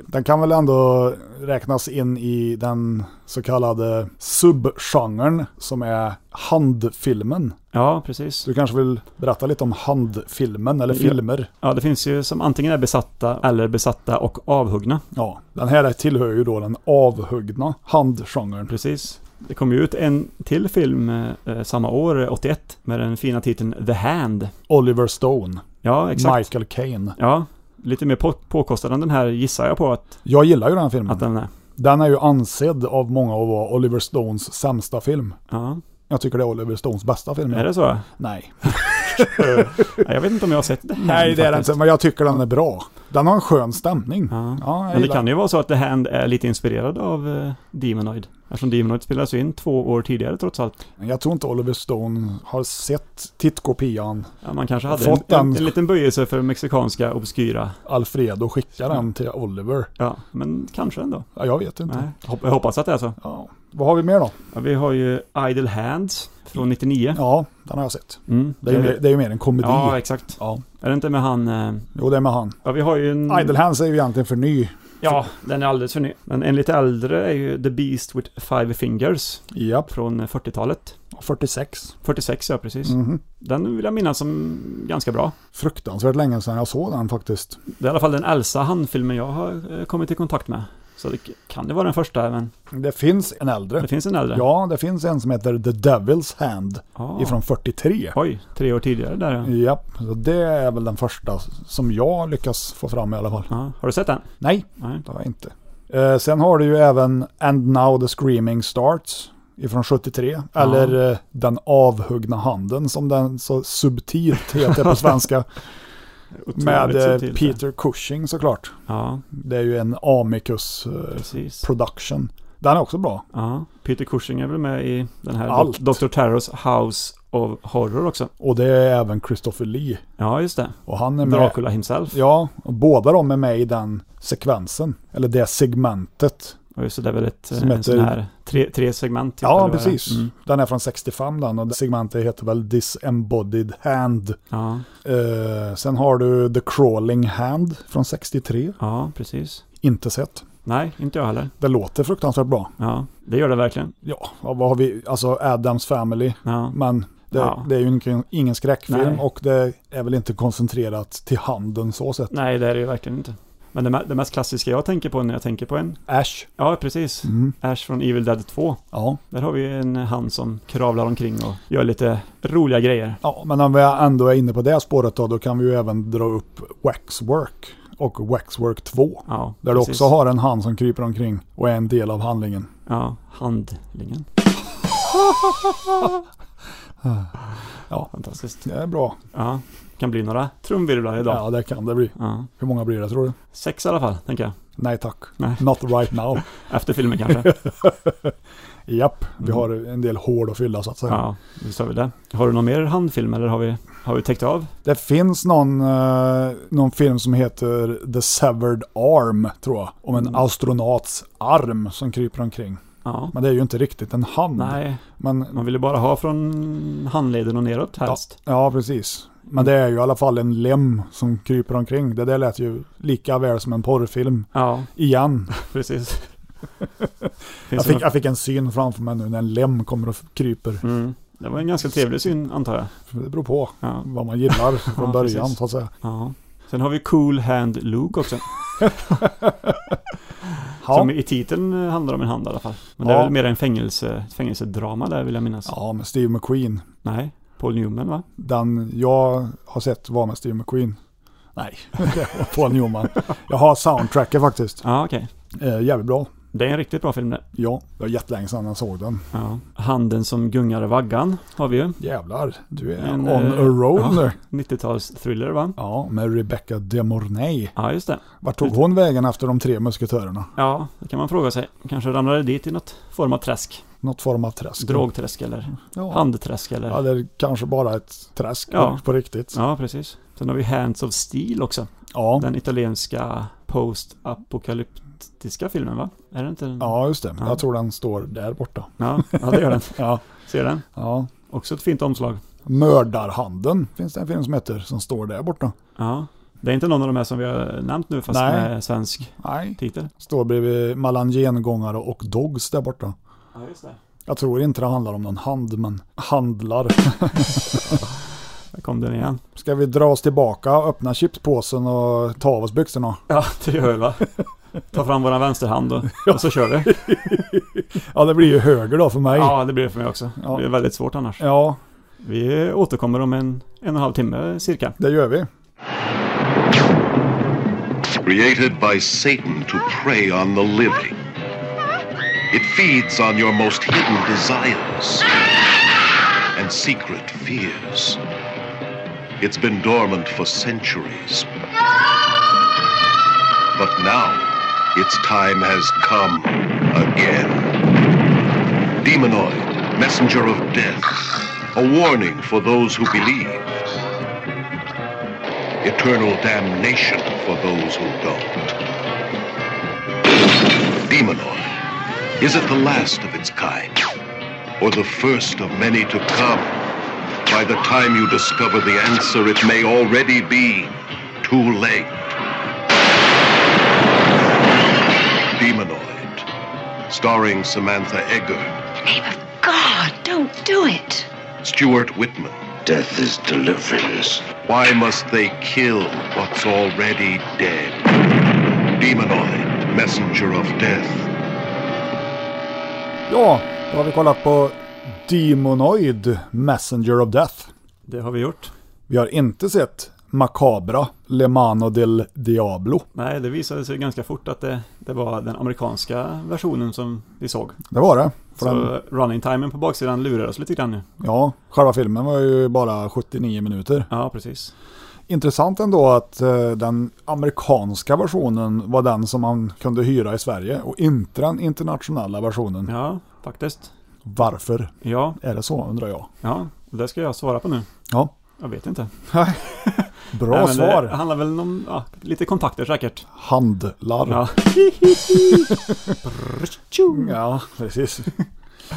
B: den kan väl ändå räknas in i den så kallade subgenren som är handfilmen.
C: Ja, precis.
B: Du kanske vill berätta lite om handfilmen eller
C: Ja.
B: filmer?
C: Ja, det finns ju som antingen är besatta eller besatta och avhuggna.
B: Ja, den här tillhör ju då den avhuggna handgenren.
C: Precis. Det kom ju ut en till film eh, samma år, eh, 81, med den fina titeln The Hand.
B: Oliver Stone,
C: Ja, exakt.
B: Michael Caine.
C: Ja, lite mer på, påkostad än den här gissar jag på att,
B: Jag gillar ju den här filmen.
C: att den är.
B: Den är ju ansedd av många att vara Oliver Stones sämsta film.
C: Ja,
B: Jag tycker det är Oliver Stones bästa film.
C: är det så?
B: Nej.
C: Ja, jag vet inte om jag har sett The Hand
B: Nej, det är det
C: Mm. faktiskt.
B: inte. Men jag tycker den är bra. Den har en skön stämning.
C: Ja.
B: Ja, jag
C: Men det
B: gillar
C: kan ju vara så att The Hand är lite inspirerad av eh, Demonoid. Eftersom Demonoid spelades ju in två år tidigare trots allt.
B: den. Jag tror inte Oliver Stone har sett tittkopian
C: Ja, man kanske hade en,
B: Fått
C: en,
B: den.
C: en liten böjelse för mexikanska obskyra.
B: Alfredo skicka den till Oliver.
C: Ja, men kanske ändå.
B: Ja, jag vet inte.
C: Nej, hop- jag hoppas att det är så.
B: Ja. Vad har vi mer då?
C: Ja, vi har ju Idle Hands från 99.
B: Ja, den har jag sett.
C: Mm,
B: Det är ju mer, det är ju mer en komedi.
C: Ja,
B: Ja,
C: exakt.
B: ja.
C: Är det inte med han... eh,
B: Jo, det är med han.
C: Ja, vi har ju en...
B: Idle Hands är ju egentligen för ny.
C: Ja, den är alldeles för ny. Men en lite äldre är ju The Beast with Five Fingers
B: Japp,
C: från 40-talet.
B: 46.
C: 46 ja, precis.
B: Mhm.
C: Den vill jag minnas som ganska bra.
B: Fruktansvärt länge sedan jag såg den faktiskt.
C: Det är i alla fall den äldsta handfilmen jag har eh, kommit i kontakt med. Så det k- kan det vara den första, men
B: Det finns en äldre.
C: det finns en äldre.
B: Ja, det finns en som heter The Devil's Hand
C: Ah.
B: ifrån 43.
C: Oj, tre år tidigare där ja.
B: Japp, så det är väl den första som jag lyckas få fram i alla fall.
C: ja. Har du sett den?
B: Nej,
C: Nej.
B: det har jag inte. Eh, sen har du ju även And Now The Screaming Starts ifrån 73. Eller eh, Den avhuggna handen som den så subtilt heter på svenska.
C: Otroligt
B: med eh,
C: subtilt, ja.
B: Peter Cushing såklart.
C: Ja,
B: Det är ju en Amicus eh,
C: precis.
B: production. Den är också bra.
C: Ja. Peter Cushing är väl med i den här
B: Allt.
C: Dok- Dr. Terrors House of Horror också.
B: Och det är även Christopher Lee.
C: Ja, just det.
B: Och han är med.
C: Dracula himself.
B: Ja, och båda de är med i den sekvensen. Eller det segmentet.
C: Och just det, det är väl ett, eh,
B: Som
C: en sån
B: heter-
C: här tre, tre segment. Typ, eller
B: Ja,
C: vad det är.
B: precis.
C: Mm.
B: Den är från 65 den och det segmentet heter väl Disembodied Hand.
C: Ja,
B: Eh, sen har du The Crawling Hand från 63.
C: ja, precis.
B: Inte sett.
C: Nej, inte jag heller.
B: Det låter fruktansvärt bra.
C: Ja, det gör det verkligen.
B: Ja, vad har vi? Alltså Adams Family.
C: Ja,
B: Men det,
C: Ja.
B: det är ju ingen, ingen skräckfilm
C: Nej.
B: och det är väl inte koncentrerat till handen så sett.
C: nej, det är det ju verkligen inte. Men det, me- det mest klassiska jag tänker på när jag tänker på en,
B: Ash.
C: ja precis,
B: Mm.
C: Ash från Evil Dead 2.
B: Ja.
C: Där har vi en eh, hand som kravlar omkring och gör lite roliga grejer.
B: ja, men om vi ändå är inne på det spåret då, då kan vi ju även dra upp Waxwork och Waxwork 2.
C: Ja,
B: Där
C: precis.
B: du också har en hand som kryper omkring och är en del av handlingen.
C: Ja, handlingen.
B: Ja.
C: Fantastiskt.
B: Det är bra.
C: Ja, kan bli några trumvirvlar idag. Ja.
B: Ja, det kan det bli. Hur många blir det tror du?
C: Sex i alla fall, tänker jag.
B: Nej tack.
C: Nej.
B: Not right now.
C: Efter filmen kanske.
B: Japp, vi har en del hål att fylla så att säga.
C: Mm. Ja, då sa vi det. Har du någon mer handfilm eller har vi, har vi täckt av?
B: Det finns någon, eh, någon film som heter The Severed Arm, tror jag. Om
C: Mm.
B: en astronauts arm som kryper omkring.
C: Ja.
B: Men det är ju inte riktigt en hand.
C: Nej,
B: Men,
C: man ville bara ha från handleden och neråt
B: ja,
C: helst.
B: ja, precis.
C: Mm.
B: Men det är ju i alla fall en lem som kryper omkring. Det där lät ju lika väl som en porrfilm.
C: Ja,
B: Igen.
C: precis.
B: Jag
C: Finns det
B: fick, jag fick en syn framför mig nu när en lem kommer och kryper.
C: någon- mm. Det var en ganska trevlig syn, antar jag.
B: Det beror på
C: Ja.
B: vad man gillar från
C: Ja,
B: början
C: precis.
B: så att säga.
C: ja. Sen har vi Cool Hand Luke också.
B: Ja.
C: Som i titeln eh, handlar om en hand i alla fall. Men det
B: Ja.
C: är väl mer en fängelse, ett fängelsedrama där vill jag minnas.
B: Ja, men Steve McQueen.
C: Nej, Paul Newman va?
B: Den jag har sett var med Steve McQueen. Nej, det var Paul Newman. Jag har soundtracket faktiskt.
C: Ja, okej.
B: Eh, jävligt bra.
C: Det är en riktigt bra film det.
B: Ja, det var jättelänge sedan jag såg den.
C: Ja. Handen som gungar i vaggan har vi ju.
B: Jävlar, du är
C: Men,
B: on
C: eh,
B: a roll
C: ja.
B: nu.
C: 90-talsthriller va?
B: Ja, med Rebecca De Mornay.
C: Ja, just det.
B: Vart tog hon vägen efter de tre musketörerna?
C: Ja, det kan man fråga sig. Kanske ramlade dit i något form av träsk.
B: Något form av träsk.
C: Drogträsk eller
B: Ja.
C: handträsk eller... Ja,
B: Eller kanske bara ett träsk
C: Ja.
B: på riktigt. Ja.
C: precis. Sen har vi Hands of Steel också.
B: Ja.
C: Den italienska post-apokalyptiska filmen va? Är det inte den?
B: just det.
C: Ja.
B: Jag tror den står där borta.
C: Ja, ja, det gör den.
B: Ja.
C: Ser den?
B: ja.
C: Också ett fint omslag.
B: Mördarhanden finns det en film som heter som står där borta.
C: Ja. Det är inte någon av de här som vi har nämnt nu fast
B: Nej.
C: med svensk
B: Nej.
C: titel.
B: Står bredvid mellan gengångare och dogs där borta.
C: Ja, just det.
B: Jag tror inte det handlar om någon hand, men handlar.
C: Där kom den igen.
B: Ska vi dra oss tillbaka, öppna chipspåsen och ta av oss byxorna?
C: Ja, det gör vi va? Ta fram våran vänsterhand och, och så kör vi.
B: Ja, det blir ju höger då för mig. Ja.
C: Ja, det blir det för mig också.
B: Ja.
C: Det blir väldigt svårt annars.
B: ja,
C: Vi återkommer om en, en och en halv timme cirka.
B: det gör vi.
F: created by Satan to prey on the living. It feeds on your most hidden desires and secret fears. It's been dormant for centuries. But now, its time has come again. Demonoid, messenger of death, a warning for those who believe eternal damnation for those who don't. Demonoid. Is it the last of its kind? Or the first of many to come? By the time you discover the answer, it may already be too late. Demonoid. Starring Samantha Egger,
E: God, don't do it.
F: Stuart Whitman.
D: Death is deliverance.
F: Why must they kill what's already dead? Demonoid, messenger of death.
B: Ja, då har vi kollat på Demonoid Messenger of Death.
C: Det har vi gjort.
B: Vi har inte sett Macabra, Le Mano del Diablo.
C: Nej, det visade sig ganska fort att det, det var den amerikanska versionen som vi såg.
B: Det var det. För
C: Så
B: den,
C: running-timen på baksidan lurar oss lite grann nu.
B: ja, själva filmen var ju bara 79 minuter.
C: Ja, precis.
B: Intressant ändå att eh, den amerikanska versionen var den som man kunde hyra i Sverige och inte den internationella versionen.
C: Ja, faktiskt.
B: Varför
C: Ja,
B: är det så undrar jag.
C: ja. Det ska jag svara på nu.
B: Ja,
C: Jag vet inte.
B: bra
C: Nej, men
B: svar.
C: Det, det handlar väl om ja, lite kontakter säkert.
B: Handlar.
C: Ja.
B: Ja, precis.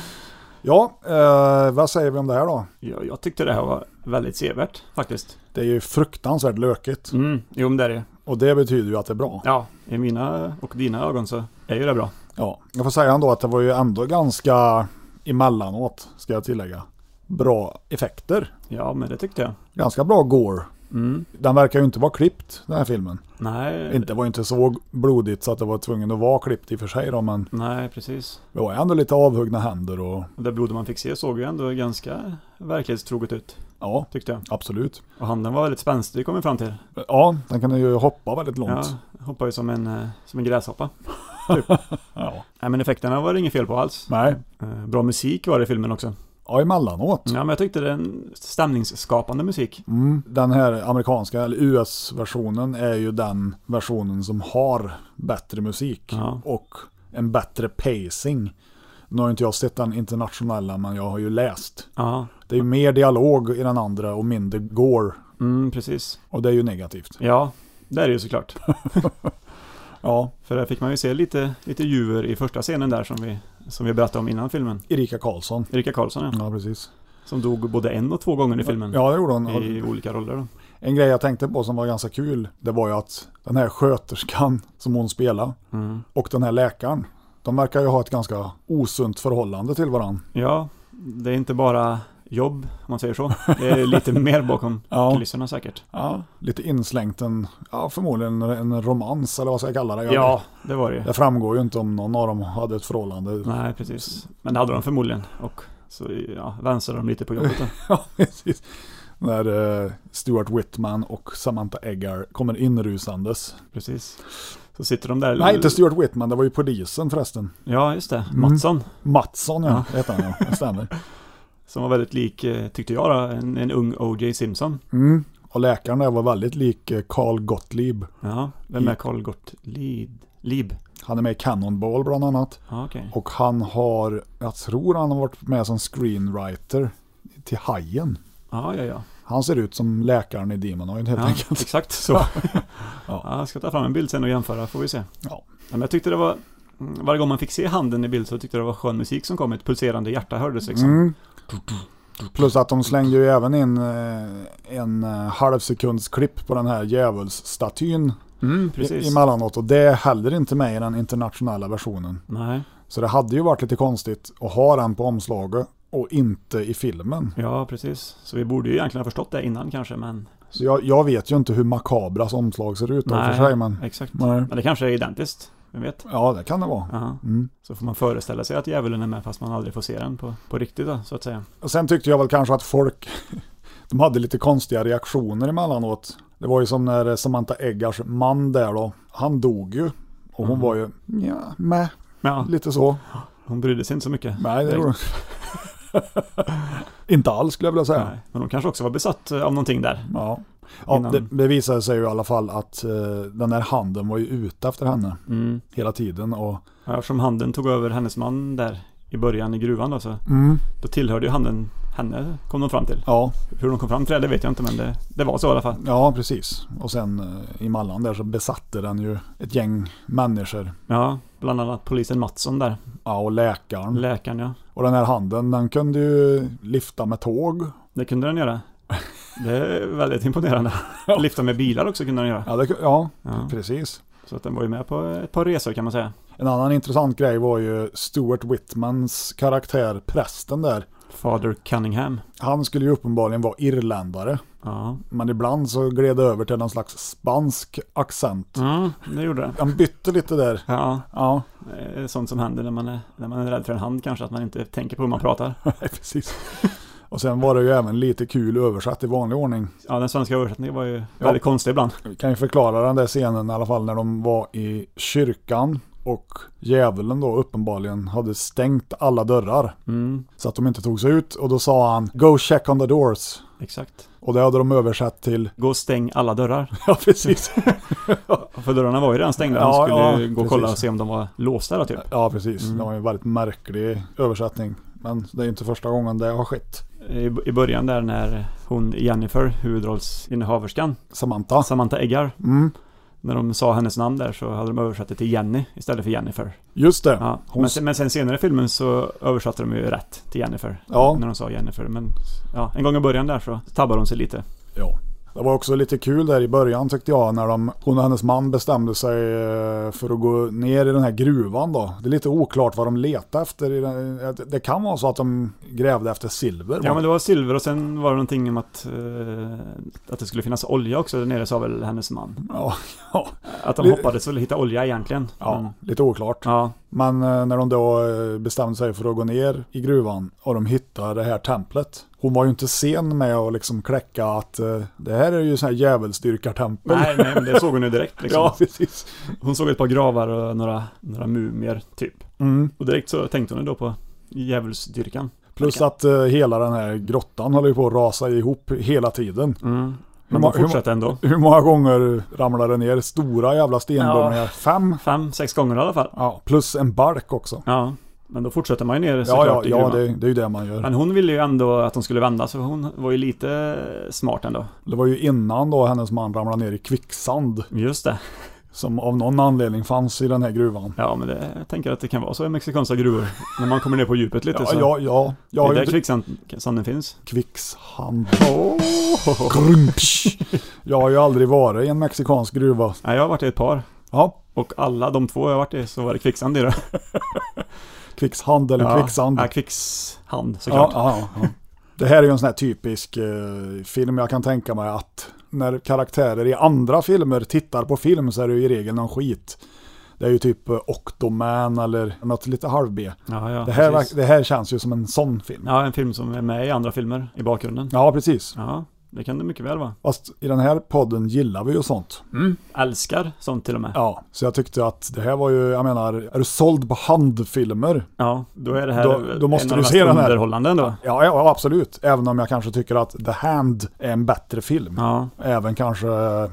B: ja, eh, vad säger vi om det här då?
C: Jag, jag tyckte det här var väldigt sevärt faktiskt.
B: Det är ju fruktansvärt lökigt
C: Mm, jo men det är det.
B: och det betyder ju att det är bra.
C: Ja, i mina och dina ögon så är ju det bra.
B: Ja, jag får säga ändå att det var ju ändå ganska emellanåt, ska jag tillägga, bra effekter.
C: Ja, men det tyckte jag.
B: Ganska bra gore.
C: Mm.
B: Den verkar ju inte vara klippt, den här filmen.
C: Nej,
B: Inte, det var ju inte så blodigt så att det var tvungen att vara klippt i och för sig då, men
C: nej precis.
B: det var ju ändå lite avhuggna händer och
C: Och Det blod man fick se såg ju ändå ganska verklighetstroget ut,
B: ja,
C: tyckte jag.
B: absolut.
C: Och handen var väldigt spänstig kom vi fram till.
B: Ja, den kan ju hoppa väldigt långt.
C: Ja, hoppade ju som en, eh, som en gräshoppa. Typ. Nej, men effekterna var det inget fel på alls.
B: Nej,
C: Eh, Bra musik var det i filmen också.
B: ja emellanåt.
C: Ja, men jag tyckte den stämningsskapande musik.
B: Den här amerikanska, eller US-versionen, är ju den versionen som har bättre musik
C: Ja.
B: och en bättre pacing. Nu har ju inte jag sett den internationella, men jag har ju läst.
C: Ja,
B: Det är ju mer dialog i den andra och mindre gore.
C: mm, precis.
B: Och det är ju negativt.
C: Ja, det är det ju såklart.
B: Ja,
C: För där fick man ju se lite, lite djur i första scenen där som vi, som vi berättade om innan filmen.
B: Erika Karlsson.
C: Erika Karlsson ja,
B: Ja, precis.
C: som dog både en och två gånger i filmen.
B: Ja, det gjorde hon.
C: Mm. I olika roller då.
B: En grej jag tänkte på som var ganska kul, det var ju att den här sköterskan som hon spelade
C: Mm.
B: och den här läkaren, de verkar ju ha ett ganska osunt förhållande till varandra.
C: Ja, det är inte bara jobb, om man säger så. Det är lite mer bakom
B: Ja.
C: kulisserna säkert.
B: Ja, lite inslängt en, ja, förmodligen en romans eller vad ska jag kalla det? Jag-
C: Ja, det var det ju.
B: Det framgår ju inte om någon av dem hade ett förhållande.
C: Nej, precis. Men det hade de förmodligen. Och så ja, vänsade de lite på jobbet då.
B: Ja, precis. När eh, Stuart Whitman och Samantha Eggar kommer inrusandes.
C: Precis. Så sitter de där.
B: Nej, inte Stuart Whitman, det var ju polisen förresten.
C: Ja, just det. Mattsson.
B: Mattsson, ja, heter han ja. Det stämmer.
C: Som var väldigt lik, eh, tyckte jag då, en, en ung O.J. Simpson.
B: Och läkaren där var väldigt lik eh, Carl Gottlieb.
C: Ja, vem är Carl Gottlieb? Lib?
B: Han är med i Cannonball bland annat.
C: Ja, okej.
B: Och han har, jag tror han har varit med som screenwriter till Hajen.
C: Ja, ja, ja.
B: Han ser ut som läkaren i Demonoid helt
C: ja
B: enkelt.
C: exakt så. ja. Jag ska ta fram en bild sen och jämföra, får vi se.
B: Ja.
C: Ja, men jag tyckte det var, mm, varje gång man fick se handen i bild så tyckte jag det var skön musik som kom, ett pulserande hjärta hördes liksom.
B: Plus att de slängde ju även in eh, en eh, halv sekunds klipp på den här djävulsstatyn
C: Mm,
B: i-
C: precis.
B: emellanåt. Och det är heller inte med i den internationella versionen.
C: Nej,
B: Så det hade ju varit lite konstigt att ha den på omslaget och inte i filmen.
C: ja precis. Så vi borde ju egentligen ha förstått det innan kanske, men
B: Så jag, jag vet ju inte hur makabras omslag ser ut då
C: Nej,
B: för sig. Men,
C: exakt.
B: Nej.
C: Men det kanske är identiskt, vem vet?
B: ja, det kan det vara.
C: Ja. Så får man föreställa sig att djävulen är med fast man aldrig får se den på, på riktigt då, så att säga.
B: Och sen tyckte jag väl kanske att folk de hade lite konstiga reaktioner emellanåt. Det var ju som när Samantha Eggars man där då, han dog ju. Och
C: Mm.
B: hon var ju, ja, med
C: Ja,
B: lite så.
C: hon brydde sig inte så mycket.
B: Nej, det
C: Direkt.
B: gjorde hon inte alls skulle jag vilja säga.
C: Nej. Men hon kanske också var besatt eh, av någonting där.
B: Ja. Ja,
C: Innan-
B: det, det visade sig ju i alla fall att eh, den här handen var ju ute efter henne hela tiden. Och
C: Ja, Eftersom handen tog över hennes man där i början i gruvan då, så då tillhörde ju handen henne, kom de fram till.
B: mm, ja,
C: Hur de kom fram till det, det vet jag inte, men det, det var så i alla fall.
B: ja, precis. Och sen eh, emellan där så besatte den ju ett gäng människor.
C: Ja, bland annat polisen Mattsson där,
B: Ja, och läkaren.
C: läkaren ja.
B: Och den här handen, den kunde ju lyfta med tåg.
C: Det kunde den göra. Det är väldigt imponerande. Lyfta med bilar också kunde den göra.
B: Ja, det, ku- ja,
C: Ja.
B: precis.
C: Så att den var ju med på ett par resor kan man säga.
B: En annan intressant grej var ju Stuart Whitmans karaktär, prästen där.
C: Father Cunningham.
B: Han skulle ju uppenbarligen vara irländare,
C: Ja,
B: men ibland så gled det över till någon slags spansk accent.
C: mm, det gjorde den.
B: Han bytte lite där.
C: Ja,
B: Ja,
C: eh, sånt som händer när man, är, när man är rädd för en hand kanske, att man inte tänker på hur man pratar.
B: nej, precis. Och sen var det ju även lite kul översatt i vanlig ordning.
C: Ja, den svenska översättningen var ju väldigt konstig ibland.
B: Vi kan ju förklara den där scenen i alla fall när de var i kyrkan och djävulen då uppenbarligen hade stängt alla dörrar.
C: Mm.
B: Så att de inte tog sig ut och då sa han Go check on the doors.
C: Exakt.
B: Och det hade de översatt till
C: Gå och stäng alla dörrar.
B: Ja, precis.
C: För dörrarna var ju redan stängda. De
B: Ja,
C: skulle
B: ja,
C: ju gå och
B: precis.
C: kolla och se om de var låsta då, typ.
B: ja, precis. Det var ju en väldigt märklig översättning. Men det är ju inte första gången det har skett.
C: I, I början där när hon Jennifer, huvudrollsinnehaverskan,
B: Samantha.
C: Samantha Eggar,
B: Mm.
C: när de sa hennes namn där så hade de översatt det till Jenny istället för Jennifer.
B: Just det.
C: Ja.
B: Hon
C: Men, sen, men sen senare i filmen så översatte de ju rätt till Jennifer.
B: Ja.
C: När de sa Jennifer. Men ja, en gång i början där så tabbade hon sig lite.
B: Ja. Det var också lite kul där i början tyckte jag när de, hon och hennes man bestämde sig eh, för att gå ner i den här gruvan då. Det är lite oklart vad de letade efter. I den, eh, det kan vara så att de grävde efter silver.
C: Ja
B: va?
C: men det var silver och sen var det någonting om att, eh, att det skulle finnas olja också där nere sa väl hennes man.
B: ja, ja,
C: Att de
B: Li-
C: hoppades väl hitta olja egentligen. Men,
B: ja, lite oklart.
C: Mm. ja.
B: Men eh, när de då eh, bestämde sig för att gå ner i gruvan och de hittade det här templet. Hon var ju inte sen med att liksom kläcka att eh, det här är ju sån här djävulsdyrkartempel.
C: Nej, nej, men det såg hon ju direkt liksom.
B: Ja, precis.
C: Hon såg ett par gravar och några, några mumier typ.
B: Mm.
C: Och direkt så tänkte hon ju då på djävulsdyrkan.
B: Plus att eh, hela den här grottan håller ju på att rasa ihop hela tiden. ma-
C: Men hon fortsatte ändå.
B: Hur många gånger ramlar det ner stora jävla stenbumlingar? Fem?
C: Fem, sex gånger i alla fall.
B: Ja, plus en balk också.
C: Ja. Men då fortsätter man ju ner
B: Ja,
C: såklart
B: ja,
C: i
B: ja
C: gruvan.
B: det, det är ju det man gör.
C: Men hon ville ju ändå att de skulle vända, så hon var ju lite smart ändå.
B: Det var ju innan då hennes man ramlade ner i kvicksand
C: Just det.
B: som av någon anledning fanns i den här gruvan.
C: Ja, men det, jag tänker att det kan vara så i mexikanska gruvor. När man kommer ner på djupet lite
B: Ja,
C: så.
B: ja, ja. Jag har
C: det är
B: ju
C: där
B: inte...
C: kvicksanden finns.
B: Kvicksand. Grumpsch. Jag har ju aldrig varit i en mexikansk gruva.
C: Nej, jag har varit i ett par.
B: Ja,
C: Och alla de två jag har varit i så var det kvicksand i det.
B: kvicksand eller
C: Ja.
B: kvicksand.
C: Ja, kvicksand
B: Ja,
C: såklart.
B: ja, ja. Det här är ju en sån här typisk eh, film jag kan tänka mig att när karaktärer i andra filmer tittar på film så är det ju i regel någon skit. Det är ju typ eh, Octoman eller något lite halv-B.
C: Ja, ja,
B: Det här,
C: precis.
B: verk- det här känns ju som en sån film.
C: Ja, en film som är med i andra filmer i bakgrunden.
B: Ja, precis.
C: Ja, det kan det mycket väl vara.
B: Fast i den här podden gillar vi ju sånt.
C: Mm. Älskar sånt till och med. Ja,
B: Ja, så jag tyckte att det här var ju, jag menar, är du såld på handfilmer?
C: då är det här
B: Då- då måste
C: en av
B: du
C: de
B: se
C: mest
B: den här.
C: underhållande ändå.
B: Ja, ja, absolut. Även om jag kanske tycker att The Hand är en bättre film.
C: Ja,
B: Även kanske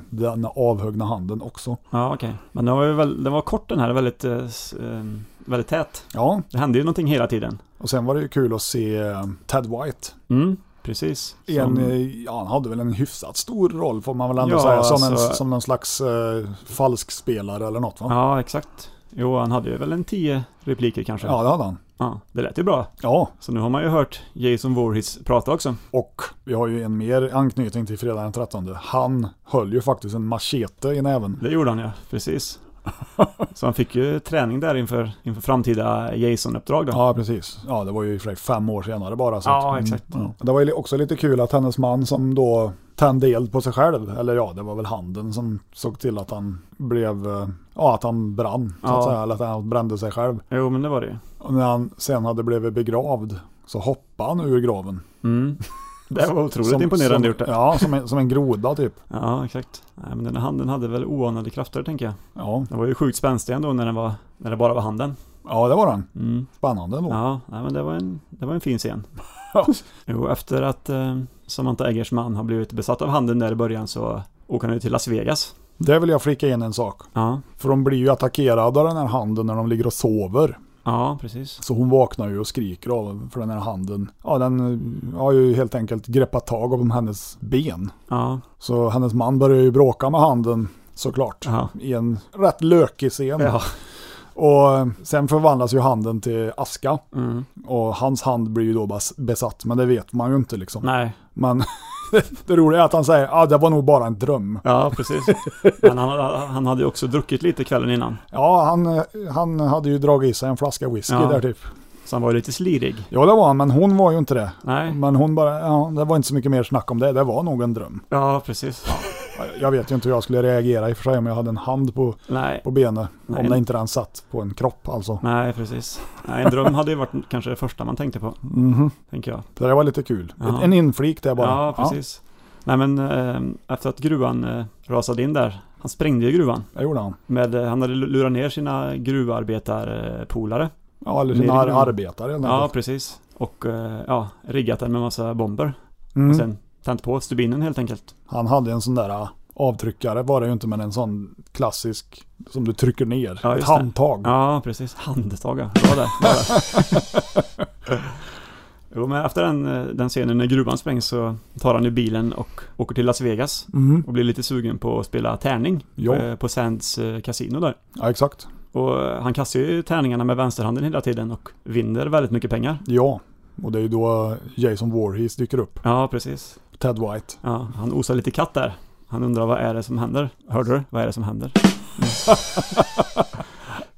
B: den avhuggna handen också.
C: ja okej. Men den var ju väl, den var kort den här, väldigt, eh, s- eh, väldigt tät.
B: Ja,
C: Det hände ju någonting hela tiden.
B: och sen var det ju kul att se eh, Ted White.
C: Mm, precis.
B: En,
C: Som-
B: eh, ja, han hade väl en hyfsat stor roll får man väl ändå
C: Ja,
B: säga. Som, en,
C: alltså-
B: som någon slags eh, falsk spelare eller något va?
C: Ja, exakt. Jo, han hade ju väl en tio repliker kanske.
B: Ja, det hade han.
C: ja. Det lät ju bra.
B: Ja,
C: Så nu har man ju hört Jason Voorhees prata också.
B: och vi har ju en mer anknytning till fredagen den 13. Han höll ju faktiskt en machete i näven.
C: Det gjorde han ja, precis. Så han fick ju träning där inför, inför framtida Jason-uppdrag då.
B: Ja, precis. Ja, det var ju i och för sig fem år senare bara. Så
C: Ja,
B: mm,
C: exakt.
B: ja. Det var ju också lite kul att hennes man som då tände eld på sig själv, eller ja, det var väl handen som såg till att han blev, eh, ja, att han brann, så
C: Ja.
B: att säga, eller att han brände sig själv.
C: Jo, men det var det ju.
B: Och när han sen hade blivit begravd så hoppade han ur graven.
C: Det var otroligt
B: Som-
C: imponerande
B: som,
C: gjort det. Ja.
B: Ja, som en, som en groda typ.
C: exakt. Nej, men den här handen hade väl oanade krafter, tänker jag.
B: Ja,
C: Den var ju sjukt spänstig ändå när, den var, när det bara var handen.
B: ja det var den.
C: Mm.
B: Spännande ändå.
C: Ja, nej, men det var, en, det var en fin scen.
B: Ja.
C: Jo, efter att eh, Samantha Eggers man har blivit besatt av handen där i början så åker han ju till Las Vegas.
B: Där vill jag flika in en sak.
C: Ja,
B: För de blir ju attackerade av den här handen när de ligger och sover.
C: ja precis.
B: Så hon vaknar ju och skriker av för den här handen. Ja, den eh, har ju helt enkelt greppat tag om hennes ben.
C: Ja,
B: Så hennes man börjar ju bråka med handen såklart.
C: ja.
B: I en rätt lökig scen.
C: ja.
B: Och eh, sen förvandlas ju handen till aska.
C: Mm.
B: Och hans hand blir ju då bas- besatt, men det vet man ju inte liksom.
C: Nej,
B: Men det roliga är att han säger att ah, det var nog bara en dröm.
C: Ja, precis. Men han, han hade ju också druckit lite kvällen innan.
B: Ja, han, eh, han hade ju dragit i sig en flaska whisky
C: Ja.
B: där typ.
C: Så han var ju lite slirig.
B: Ja, det var han, men hon var ju inte det.
C: Nej.
B: Men hon bara, ja, det var inte så mycket mer snack om det. Det var nog en dröm.
C: Ja, precis.
B: Jag vet ju inte hur jag skulle reagera i och för sig om jag hade en hand på,
C: Nej.
B: på benet. Om
C: Nej.
B: det inte den satt på en kropp alltså.
C: Nej, precis. Nej, en dröm hade ju varit kanske det första man tänkte på,
B: Mhm.
C: tänker jag.
B: Så det var lite kul.
C: Ja.
B: Ett- En inflik där bara.
C: Ja, precis. Nej, men eh, efter att gruvan eh, rasade in där, han sprängde ju gruvan.
B: Ja, det gjorde han.
C: Med, eh, han hade lurat ner sina gruvarbetarpolare.
B: Ja, eller
C: Nere i
B: sina ar-
C: gruvan.
B: arbetare helt
C: Ja,
B: enkelt.
C: precis. Och eh, ja, riggat den med massa bomber.
B: Mm.
C: Och sen tänt på stubinen helt enkelt.
B: Han hade en sån där ah, avtryckare var det ju inte, men en sån klassisk som du trycker ner.
C: Ja,
B: ett
C: just det.
B: handtag.
C: Ja, precis. Handtag, ja. Bra där. Bra där. jo, men efter den, eh, den scenen när gruvan sprängs så tar han ju bilen och åker till Las Vegas.
B: Mhm.
C: Och blir lite sugen på att spela tärning
B: Ja.
C: eh, på Sands eh, kasino där.
B: ja, exakt.
C: Och eh, han kastar ju tärningarna med vänsterhanden hela tiden och vinner väldigt mycket pengar.
B: Ja, och det är ju då Jason Voorhees dyker upp.
C: Ja, precis.
B: Ted White.
C: Ja, han osar lite katt där. Han undrar vad är det som händer? Hörde du? Vad är det som händer?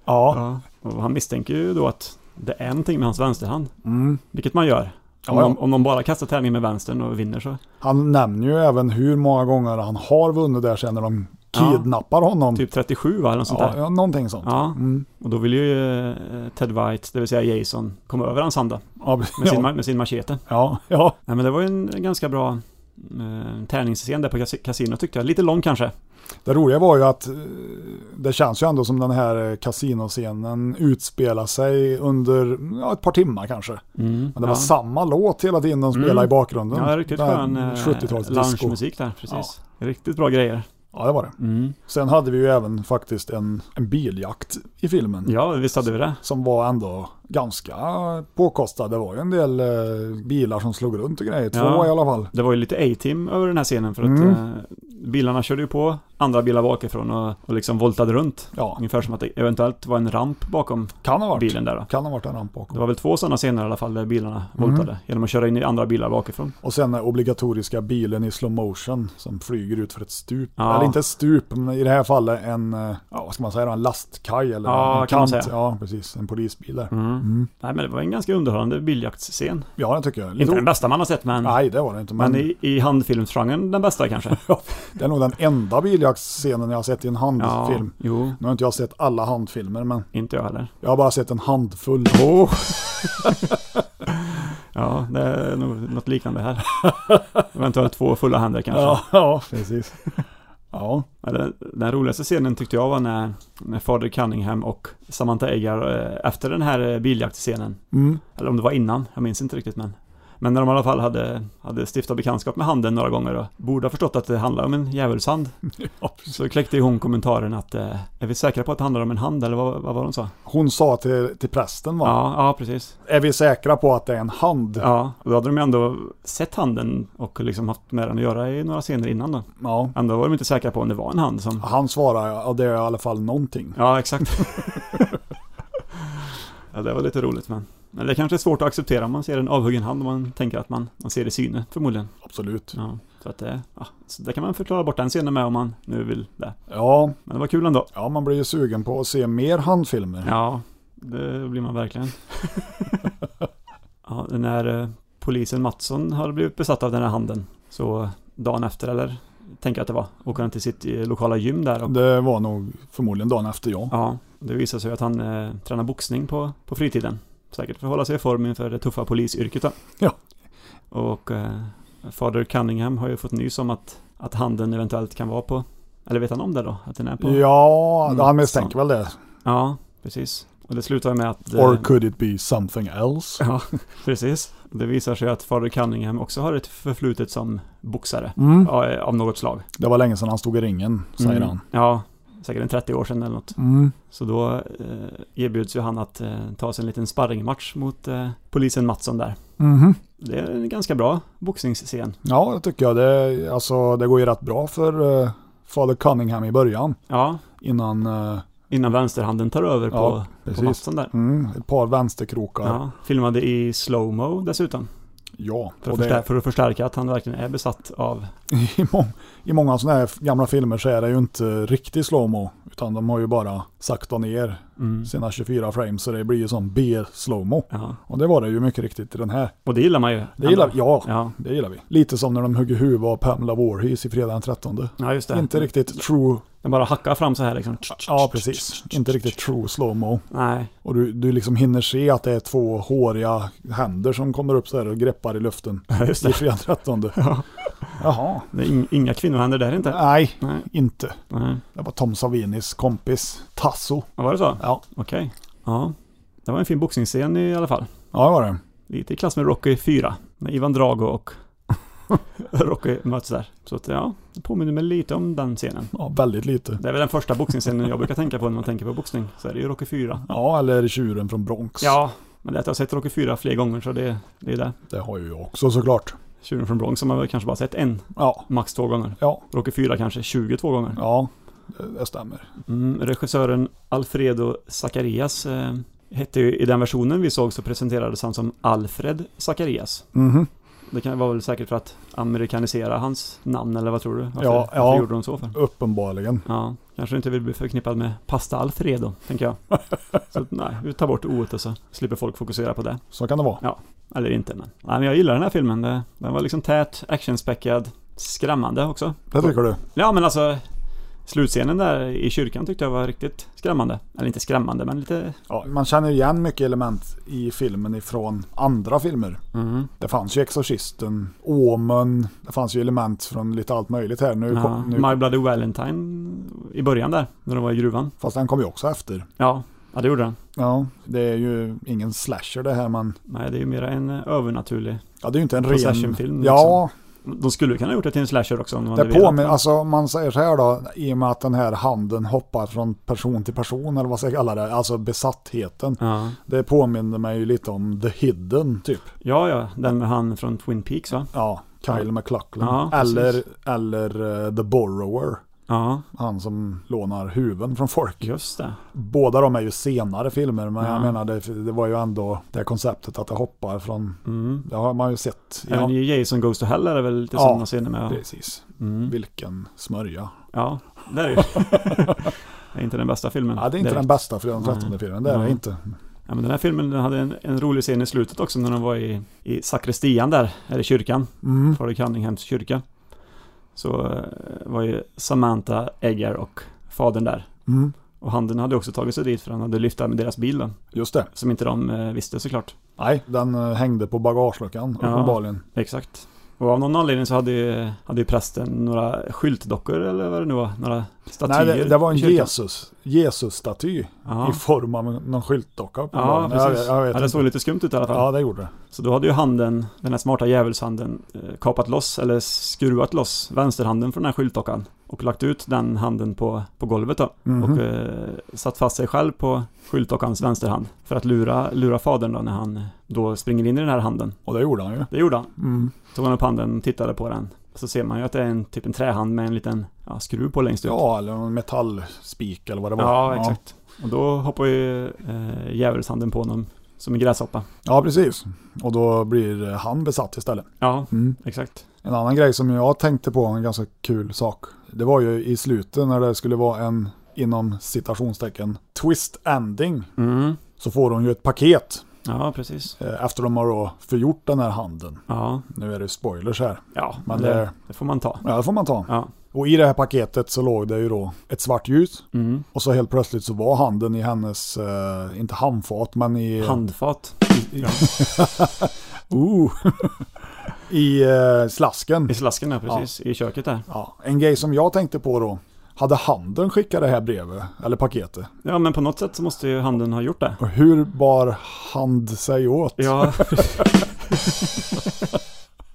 B: Ja,
C: Ja. Och han misstänker ju då att det är någonting med hans vänsterhand.
B: Mm.
C: Vilket man gör. Om,
B: Ja, ja.
C: de, om de bara kastar tärningen med vänstern och vinner så
B: han nämner ju även hur många gånger han har vunnit där sen när de
C: Ja.
B: kidnappar honom.
C: Typ 37 va, eller något sånt
B: ja,
C: där.
B: ja, någonting sånt.
C: Ja,
B: Mm.
C: och då vill ju eh, Ted White, det vill säga Jason, komma över hans hand då,
B: Ja,
C: med, sin,
B: ja,
C: ma- med sin machete.
B: ja, ja,
C: Nej men det var ju en ganska bra eh, tärningsscen där på kas- kasinot tyckte jag. Lite lång kanske.
B: det roliga var ju att eh, det känns ju ändå som den här eh, kasinoscenen utspelar sig under ja, ett par timmar kanske. Men det var
C: Mm, ja.
B: samma låt hela tiden de spelade
C: Mm.
B: i bakgrunden.
C: Ja, riktigt
B: Den här
C: skön eh,
B: 70-talsdisco.
C: loungemusik där, precis. Riktigt bra grejer.
B: Ja, det var det.
C: Mm.
B: Sen hade vi ju även faktiskt en, en biljakt i filmen.
C: Ja, visst hade vi det.
B: Som var ändå ganska påkostad. Det var ju en del eh, bilar som slog runt och grejer. Två
C: Ja.
B: i alla fall.
C: Det var ju lite A-team över den här scenen för att
B: Mm.
C: eh, bilarna körde ju på andra bilar bakifrån och, och liksom voltade runt.
B: Ja,
C: Ungefär som att det eventuellt var en ramp bakom
B: kan ha varit.
C: bilen där då.
B: Kan ha varit en ramp bakom.
C: Det var väl två sådana scener i alla fall där bilarna
B: Mm.
C: voltade genom att köra in i andra bilar bakifrån.
B: Och sen den obligatoriska bilen i slow motion som flyger ut för ett stup.
C: Ja.
B: Eller inte ett stup, men i det här fallet en, eh, ja, vad ska man säga då, en lastkaj eller
C: Ja,
B: en
C: kan man säga. Mm.
B: Ja, precis. En polisbil där.
C: Nej men det var en ganska underhållande biljaktsscen.
B: Ja, det tycker jag.
C: Inte
B: Jo,
C: den bästa man har sett men,
B: Nej, det var det inte. Men,
C: men i, i handfilmsgenren den bästa kanske.
B: det är nog den enda biljaktsscenen jag har sett i en handfilm.
C: jo,
B: Nu har inte jag sett alla handfilmer, men
C: inte jag heller.
B: jag har bara sett en handfull.
C: Oh. Ja, det är nog något liknande här. Eventuellt två fulla händer kanske.
B: Ja, ja, precis. Ja,
C: Ja, Den, den roligaste scenen tyckte jag var när, när Fader Cunningham och Samantha Eggar eh, efter den här eh, biljaktscenen,
B: mm.
C: eller om det var innan, jag minns inte riktigt men men när de i alla fall hade, hade stiftat bekantskap med handen några gånger och borde ha förstått att det handlar om en djävulshand. så kläckte ju hon kommentaren att eh, är vi säkra på att det handlar om en hand eller vad, vad var hon sa?
B: Hon sa till, till prästen, va?
C: Ja, ja precis.
B: Är vi säkra på att det är en hand?
C: Ja, och då hade de ju ändå sett handen och liksom haft med den att göra i några scener innan då.
B: Ja.
C: Ändå var de inte säkra på om det var en hand som
B: Han svarar, ja det är i alla fall någonting.
C: Ja, exakt. ja, det var lite roligt men. Men det kanske är svårt att acceptera om man ser en avhuggen hand och man tänker att man, man ser i syne förmodligen.
B: Absolut.
C: Ja, så att det, ja, så det kan man förklara bort den scenen med om man nu vill det.
B: Ja,
C: Men det var kul ändå.
B: ja man blir ju sugen på att se mer handfilmer.
C: Ja, det blir man verkligen. ja, när eh, polisen Mattsson har blivit besatt av den här handen så dagen efter eller tänker jag att det var, åker han till sitt eh, lokala gym där och
B: Det var nog förmodligen dagen efter jag.
C: Ja, det visar sig att han eh, tränar boxning på, på fritiden. Säkert för att hålla sig i form inför det tuffa polisyrket då.
B: Ja.
C: Och eh, Fader Cunningham har ju fått nys om att, att handen eventuellt kan vara på, eller vet han om det då? Att den är på?
B: Ja,
C: Mm,
B: han misstänker väl det.
C: Ja, precis. Och det slutar ju med att... eh,
B: Or could it be something else?
C: Ja, precis. Det visar sig att Fader Cunningham också har ett förflutet som boxare.
B: Mm.
C: Ja, eh, Av något slag.
B: Det var länge sedan han stod i ringen, säger
C: Mm.
B: han.
C: Ja, säkert en 30 år sedan eller något.
B: Mm.
C: Så då eh, erbjuds ju han att eh, ta sig en liten sparringmatch mot eh, polisen Mattsson där.
B: Mhm.
C: Det är en ganska bra boxningsscen.
B: Ja, det tycker jag. Det, alltså, det går ju rätt bra för uh, Father Cunningham i början.
C: Ja,
B: Innan eh,
C: innan vänsterhanden tar över
B: Ja,
C: på,
B: precis.
C: på Mattsson där.
B: mm, ett par vänsterkrokar. Ja,
C: Ja, filmade i slowmo dessutom. För
B: och
C: att,
B: det-
C: förstär- för att förstärka att han verkligen är besatt av...
B: I, må I många sådana här gamla filmer så är det ju inte riktig slowmo utan de har ju bara sakta ner
C: Mm.
B: sina 24 frames så det blir ju som B-slowmo.
C: Ja.
B: Och det var det ju mycket riktigt i den här.
C: Och det gillar man ju.
B: Det gillar,
C: Ändå.
B: ja,
C: Ja.
B: det gillar vi. Lite som när de hugger huvud av Pamela Warhis i fredag den 13.
C: ja, just det.
B: Inte riktigt true,
C: Den bara hackar fram så här liksom.
B: ja precis, inte riktigt true slowmo.
C: Nej,
B: Och du, du liksom hinner se att det är två håriga händer som kommer upp så här och greppar i luften
C: just
B: i
C: det.
B: fredag den 13. Jaha,
C: det är ing- inga kvinnohänder där inte.
B: nej,
C: Nej.
B: inte.
C: Nej.
B: Det var Tom Savinis kompis, Tasso.
C: Var det så?
B: Ja,
C: Okej. Ja. Det var en fin boxningsscen i alla fall.
B: ja det var det.
C: Lite i klass med Rocky 4, när Ivan Drago och Rocky möts där. Så att, ja, det påminner mig lite om den scenen.
B: Ja, väldigt lite.
C: Det är väl den första boxningsscenen jag brukar tänka på när man tänker på boxning, så är det ju Rocky 4.
B: Ja, eller tjuren från Bronx.
C: Ja, men det är att jag har sett Rocky 4 fler gånger så det, det är det.
B: Det har ju jag också såklart.
C: Tjuren från Bronx har man väl kanske bara sett en,
B: Ja,
C: max två gånger.
B: ja,
C: Rocky 4 kanske 22 gånger.
B: ja, det, det stämmer.
C: Mm, regissören Alfredo Zacharias eh, hette ju, i den versionen vi såg så presenterades han som Alfred Zacharias.
B: Mhm.
C: Det kan vara väl säkert för att amerikanisera hans namn eller vad tror du? Varför,
B: Ja,
C: varför
B: ja.
C: gjorde de så för?
B: Uppenbarligen.
C: Ja, kanske inte vill bli förknippad med pasta Alfredo, tänker jag. Så att, nej, vi tar bort o så slipper folk fokusera på det.
B: Så kan det vara.
C: Eller inte, men. Nej, men jag gillar den här filmen. Det- Den var liksom tät, actionspäckad, skrämmande också.
B: Det tycker du?
C: Ja, men alltså slutscenen där i kyrkan tyckte jag var riktigt skrämmande. Eller inte skrämmande, men lite...
B: Ja, man känner ju igen mycket element i filmen ifrån andra filmer.
C: Mm.
B: Det fanns ju Exorcisten, Omen, det fanns ju element från lite allt möjligt här. Nu
C: Ja,
B: kom, nu,
C: My Bloody Valentine i början där, när de var i gruvan.
B: fast den kom ju också efter.
C: Ja, ja det gjorde den.
B: Ja, det är ju ingen slasher det här men...
C: Nej, det är ju mera en eh, övernaturlig
B: Ja, det är ju inte en ren...
C: Possession-film,
B: Ja,
C: De skulle kunna gjort det till en slasher också om de
B: Det
C: hade velat.
B: påminner, alltså om man säger så här då, i och med att den här handen hoppar från person till person eller vad ska jag kalla det, alltså besattheten.
C: Ja.
B: Det påminner mig ju lite om The Hidden typ.
C: ja, ja, den med han från Twin Peaks va?
B: Ja, Kyle MacLachlan.
C: Ja, precis.
B: eller eller eh, The Borrower.
C: Ja,
B: Han som lånar huvuden från folk.
C: just det.
B: Båda de är ju senare filmer, men
C: Ja.
B: jag menar det, det var ju ändå det här konceptet att det hoppar från...
C: Mm.
B: Det har man ju sett. ja,
C: Även i Jason Goes to Hell är det väl lite
B: Ja,
C: sådana scener med.
B: precis.
C: Mm.
B: Vilken smörja.
C: Ja, det är det ju. det är inte den bästa filmen.
B: Ja, det är inte
C: direkt.
B: den bästa för den trettonde filmen, det är
C: Nej. Mm.
B: det inte.
C: Ja, men den här filmen den hade en, en rolig scen i slutet också när de var i, i sakristian där, eller kyrkan,
B: Mm.
C: Fader Cunninghams kyrka. Så eh, var ju Samantha Eggar och fadern där.
B: Mm.
C: Och handen hade också tagit sig dit för han hade lyft där med deras bil då,
B: Just det.
C: som inte de eh, visste såklart.
B: Nej, den eh, hängde på bagageluckan
C: Ja.
B: uppenbarligen.
C: Exakt. Och av någon anledning så hade ju, hade ju prästen några skyltdockor eller vad det nu var, några statyer.
B: Nej, det, det var en
C: i kyrkan.
B: Jesus, Jesus-staty
C: Ja.
B: i form av någon skyltdocka
C: Ja,
B: uppenbarligen.
C: precis.
B: Jag, jag
C: ja,
B: vet
C: det
B: inte.
C: såg lite skumt ut i alla fall.
B: Ja, det gjorde det.
C: Så då hade ju handen, den här smarta djävulshanden, eh, kapat loss eller skruvat loss vänsterhanden från den här skyltdockan och lagt ut den handen på, på golvet då.
B: Mhm.
C: Och eh, satt fast sig själv på skyltdockans vänsterhand för att lura, lura fadern då när han eh, då springer in i den här handen.
B: Och det gjorde han ju.
C: Det gjorde han.
B: Mm.
C: Tog han upp handen och tittade på den. Så ser man ju att det är en typ en trähand med en liten ja, skruv på längst ut.
B: Ja, eller någon metallspik eller vad det var.
C: ja exakt. Och då hoppar ju eh, djävulshanden på honom som en gräshoppa.
B: Ja, precis. Och då blir han besatt istället.
C: Ja,
B: Mm.
C: exekt.
B: En annan grej som jag tänkte på, en ganska kul sak. Det var ju i slutet när det skulle vara en, inom citationstecken, twist ending.
C: Mm.
B: Så får hon ju ett paket
C: Ja, precis.
B: eh, efter de har då förgjort den här handen.
C: Ja,
B: Nu är det spoilers här.
C: ja
B: Men
C: det,
B: det-
C: det får man ta.
B: Ja, det får man ta.
C: Ja.
B: Och i det här paketet så låg det ju då ett svart ljus.
C: Mm.
B: Och så helt plötsligt så var handen i hennes, eh, inte handfat, men i...
C: Handfat
B: Ooh. I eh, slasken.
C: i slasken där, precis. I köket där.
B: Ja, en grej som jag tänkte på då. Hade handen skickat det här brevet, eller paketet?
C: Ja, men på något sätt så måste ju handen ha gjort det.
B: Och hur bar hand sig åt?
C: Ja.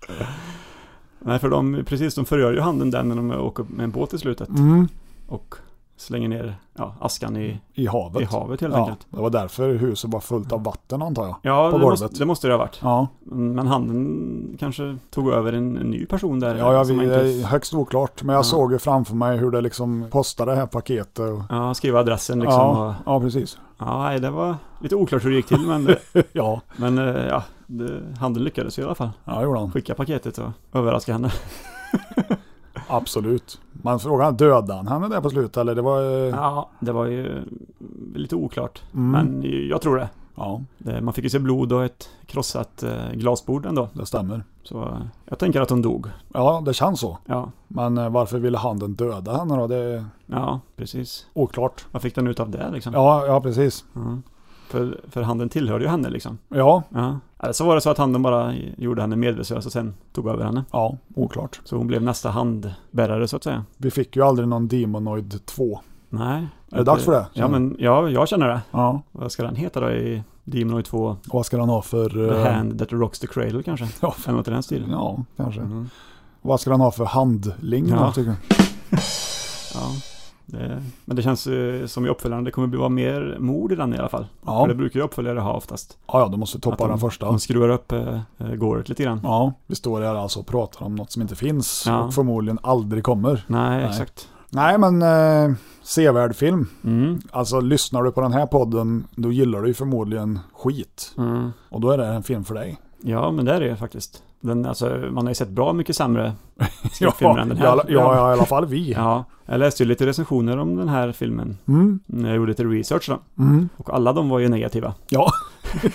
C: Nej, för de, precis, de förgör ju handen där när de åker med en båt i slutet.
B: Mm,
C: Och slänger ner ja, askan i,
B: I havet.
C: i havet helt
B: ja,
C: enkelt.
B: det var därför huset var fullt av vatten antar jag.
C: Ja,
B: På
C: det måste,
B: golvet.
C: det måste det ha varit.
B: Ja,
C: Men handen kanske tog över en, en ny person där.
B: ja jag,
C: som
B: vi,
C: inte-
B: det är högst oklart. Men jag såg ju framför mig hur det liksom postade det här paketet. Och,
C: Ja, skriva adressen liksom.
B: ja,
C: Och,
B: ja, precis.
C: ja, nej, det var lite oklart hur det gick till, men, det-
B: Ja,
C: men eh, ja, det, handen lyckades i alla fall.
B: ja det gjorde han.
C: skicka paketet och överraska henne.
B: Absolut. Man frågar, dödade han henne där på slutet? Eller det var... eh,
C: Ja, det var ju lite oklart.
B: Mm.
C: Men jag tror det.
B: ja,
C: Det- Man fick ju se blod och ett krossat eh, glasbord ändå.
B: det stämmer.
C: Så eh, jag tänker att hon dog.
B: Ja, det känns så.
C: Ja,
B: Men eh, varför ville handen döda henne då? Det är
C: ja precis.
B: oklart.
C: Vad fick den ut av det liksom?
B: Ja, ja precis.
C: Mm. För, för handen tillhörde ju henne liksom.
B: Ja,
C: Ja. Eller så var det så att handen bara gjorde henne medvetslös och sen tog över henne.
B: ja, oklart.
C: Så hon blev nästa handbärare så att säga.
B: Vi fick ju aldrig någon Demonoid 2.
C: Nej.
B: Är det dags för det?
C: Ja, men ja, jag känner det.
B: Ja,
C: Vad ska den heta då i Demonoid 2?
B: och vad ska den ha för...
C: The
B: eh,
C: hand that rocks the cradle kanske?
B: Ja, för-
C: Eller något i den stilen.
B: ja, kanske.
C: Mm.
B: Vad ska den ha för handling?
C: Ja.
B: då, tycker du?
C: Ja. Det, men det känns eh, som i uppföljaren, det kommer bli vara mer mord i den i alla fall.
B: Ja.
C: För det brukar ju uppföljare ha oftast.
B: ja, ja, du måste
C: Att
B: toppa
C: de-
B: den första.
C: De skruvar upp eh, eh, gåret lite grann.
B: Ja, vi står här alltså och pratar om något som inte finns
C: Ja.
B: och förmodligen aldrig kommer.
C: Nej, exakt.
B: Nej, men eh, sevärd film.
C: Mm.
B: Alltså, lyssnar du på den här podden, då gillar du ju förmodligen skit.
C: Mm.
B: Och då är det här en film för dig.
C: Ja, men det är det ju faktiskt. Den, alltså, man har ju sett bra mycket sämre
B: Ja,
C: skräckfilmer än den här.
B: ja, ja, ja, i alla fall vi.
C: Ja, jag läste ju lite recensioner om den här filmen
B: Mm,
C: när jag gjorde lite research då.
B: mm,
C: Och alla de var ju negativa.
B: ja.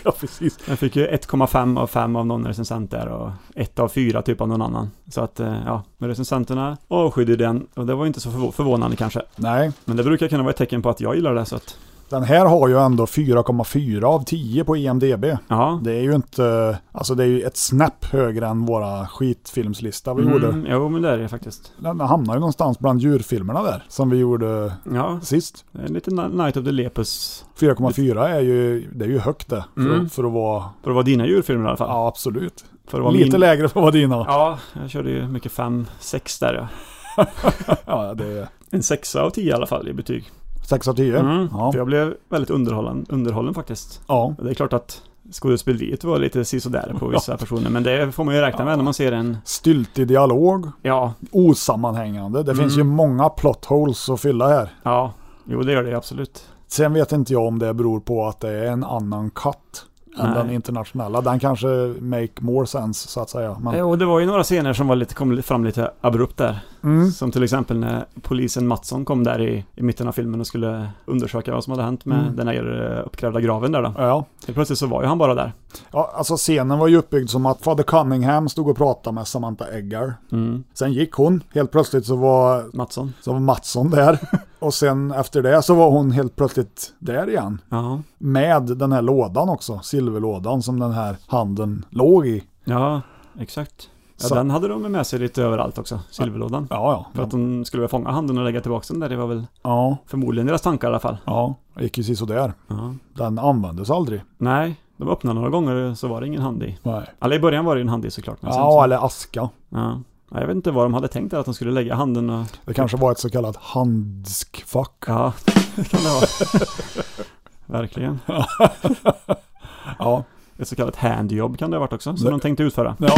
B: ja, precis.
C: Jag fick ju 1,5 av 5 av någon recensent där och 1 av 4 typ av någon annan. Så att, eh, ja, men recensenterna avskydde den och det var ju inte så förvå- förvånande kanske.
B: Nej,
C: Men det brukar kunna vara ett tecken på att jag gillar det så att,
B: den här har ju ändå 4,4 av 10 på IMDB.
C: ja.
B: Det är ju inte, alltså det är ju ett snäpp högre än våra skitfilmslista vi gjorde.
C: Mm, jo, men det är det faktiskt.
B: Den hamnar ju någonstans bland djurfilmerna där, som vi gjorde
C: Ja,
B: sist.
C: det är lite Na- Night of the Lepus.
B: 4,4 är ju, det är ju högt det, för,
C: Mm.
B: att, för att vara,
C: För att vara dina djurfilmer i alla fall.
B: ja absolut.
C: för att vara
B: Lite
C: min...
B: lägre för att vara dina.
C: Ja, jag körde ju mycket 5, 6 där ja.
B: Ja, det är
C: En sexa av 10 i alla fall i betyg.
B: 6 av 10.
C: Mm,
B: Ja.
C: För jag blev väldigt underhållen, underhållen faktiskt.
B: ja,
C: Det är klart att skådespeleriet var lite sisådär på vissa personer, men det får man ju räkna med när man ser en,
B: Styltig dialog,
C: ja,
B: osammanhängande. Det finns
C: Mm.
B: ju många plot holes att fylla här.
C: ja, jo det gör det ju absolut.
B: Sen vet inte jag om det beror på att det är en annan katt än
C: Nej.
B: den internationella. Den kanske make more sense så att säga. Men,
C: Eh, Och det var ju några scener som var lite, kom lite fram lite abrupt där.
B: mm,
C: Som till exempel när polisen Mattsson kom där i, i mitten av filmen och skulle undersöka vad som hade hänt med
B: Mm.
C: den här eh, uppgrävda graven där då.
B: ja.
C: Helt plötsligt så var ju han bara där.
B: ja, alltså scenen var ju uppbyggd som att Fader Cunningham stod och pratade med Samantha Eggar.
C: Mm.
B: Sen gick hon, helt plötsligt så var,
C: Mattsson.
B: så var Mattsson där. Och sen efter det så var hon helt plötsligt där igen.
C: Ja.
B: Med den här lådan också, silverlådan som den här handen låg i.
C: Ja, exakt. Ja,
B: Så-
C: den hade de med sig lite överallt också, silverlådan.
B: Ja,
C: För
B: ja.
C: att de skulle väl fånga handen och lägga tillbaka den där, det var väl
B: Ja,
C: förmodligen deras tankar i alla fall.
B: ja. Det gick ju sådär.
C: Ja.
B: Den användes aldrig.
C: Nej, de öppnade några gånger så var det ingen hand i.
B: Nej.
C: Eller i början var det ju en hand i såklart. men sen
B: Ja,
C: så-
B: eller aska.
C: ja. Ja, Jag vet inte vad de hade tänkt där, att de skulle lägga handen och...
B: Det kanske var ett så kallat handskfack.
C: Ja, det kan det vara. Verkligen.
B: Ja.
C: Ett så kallat handjobb kan det ha varit också, som
B: Det-
C: de tänkte utföra.
B: Ja.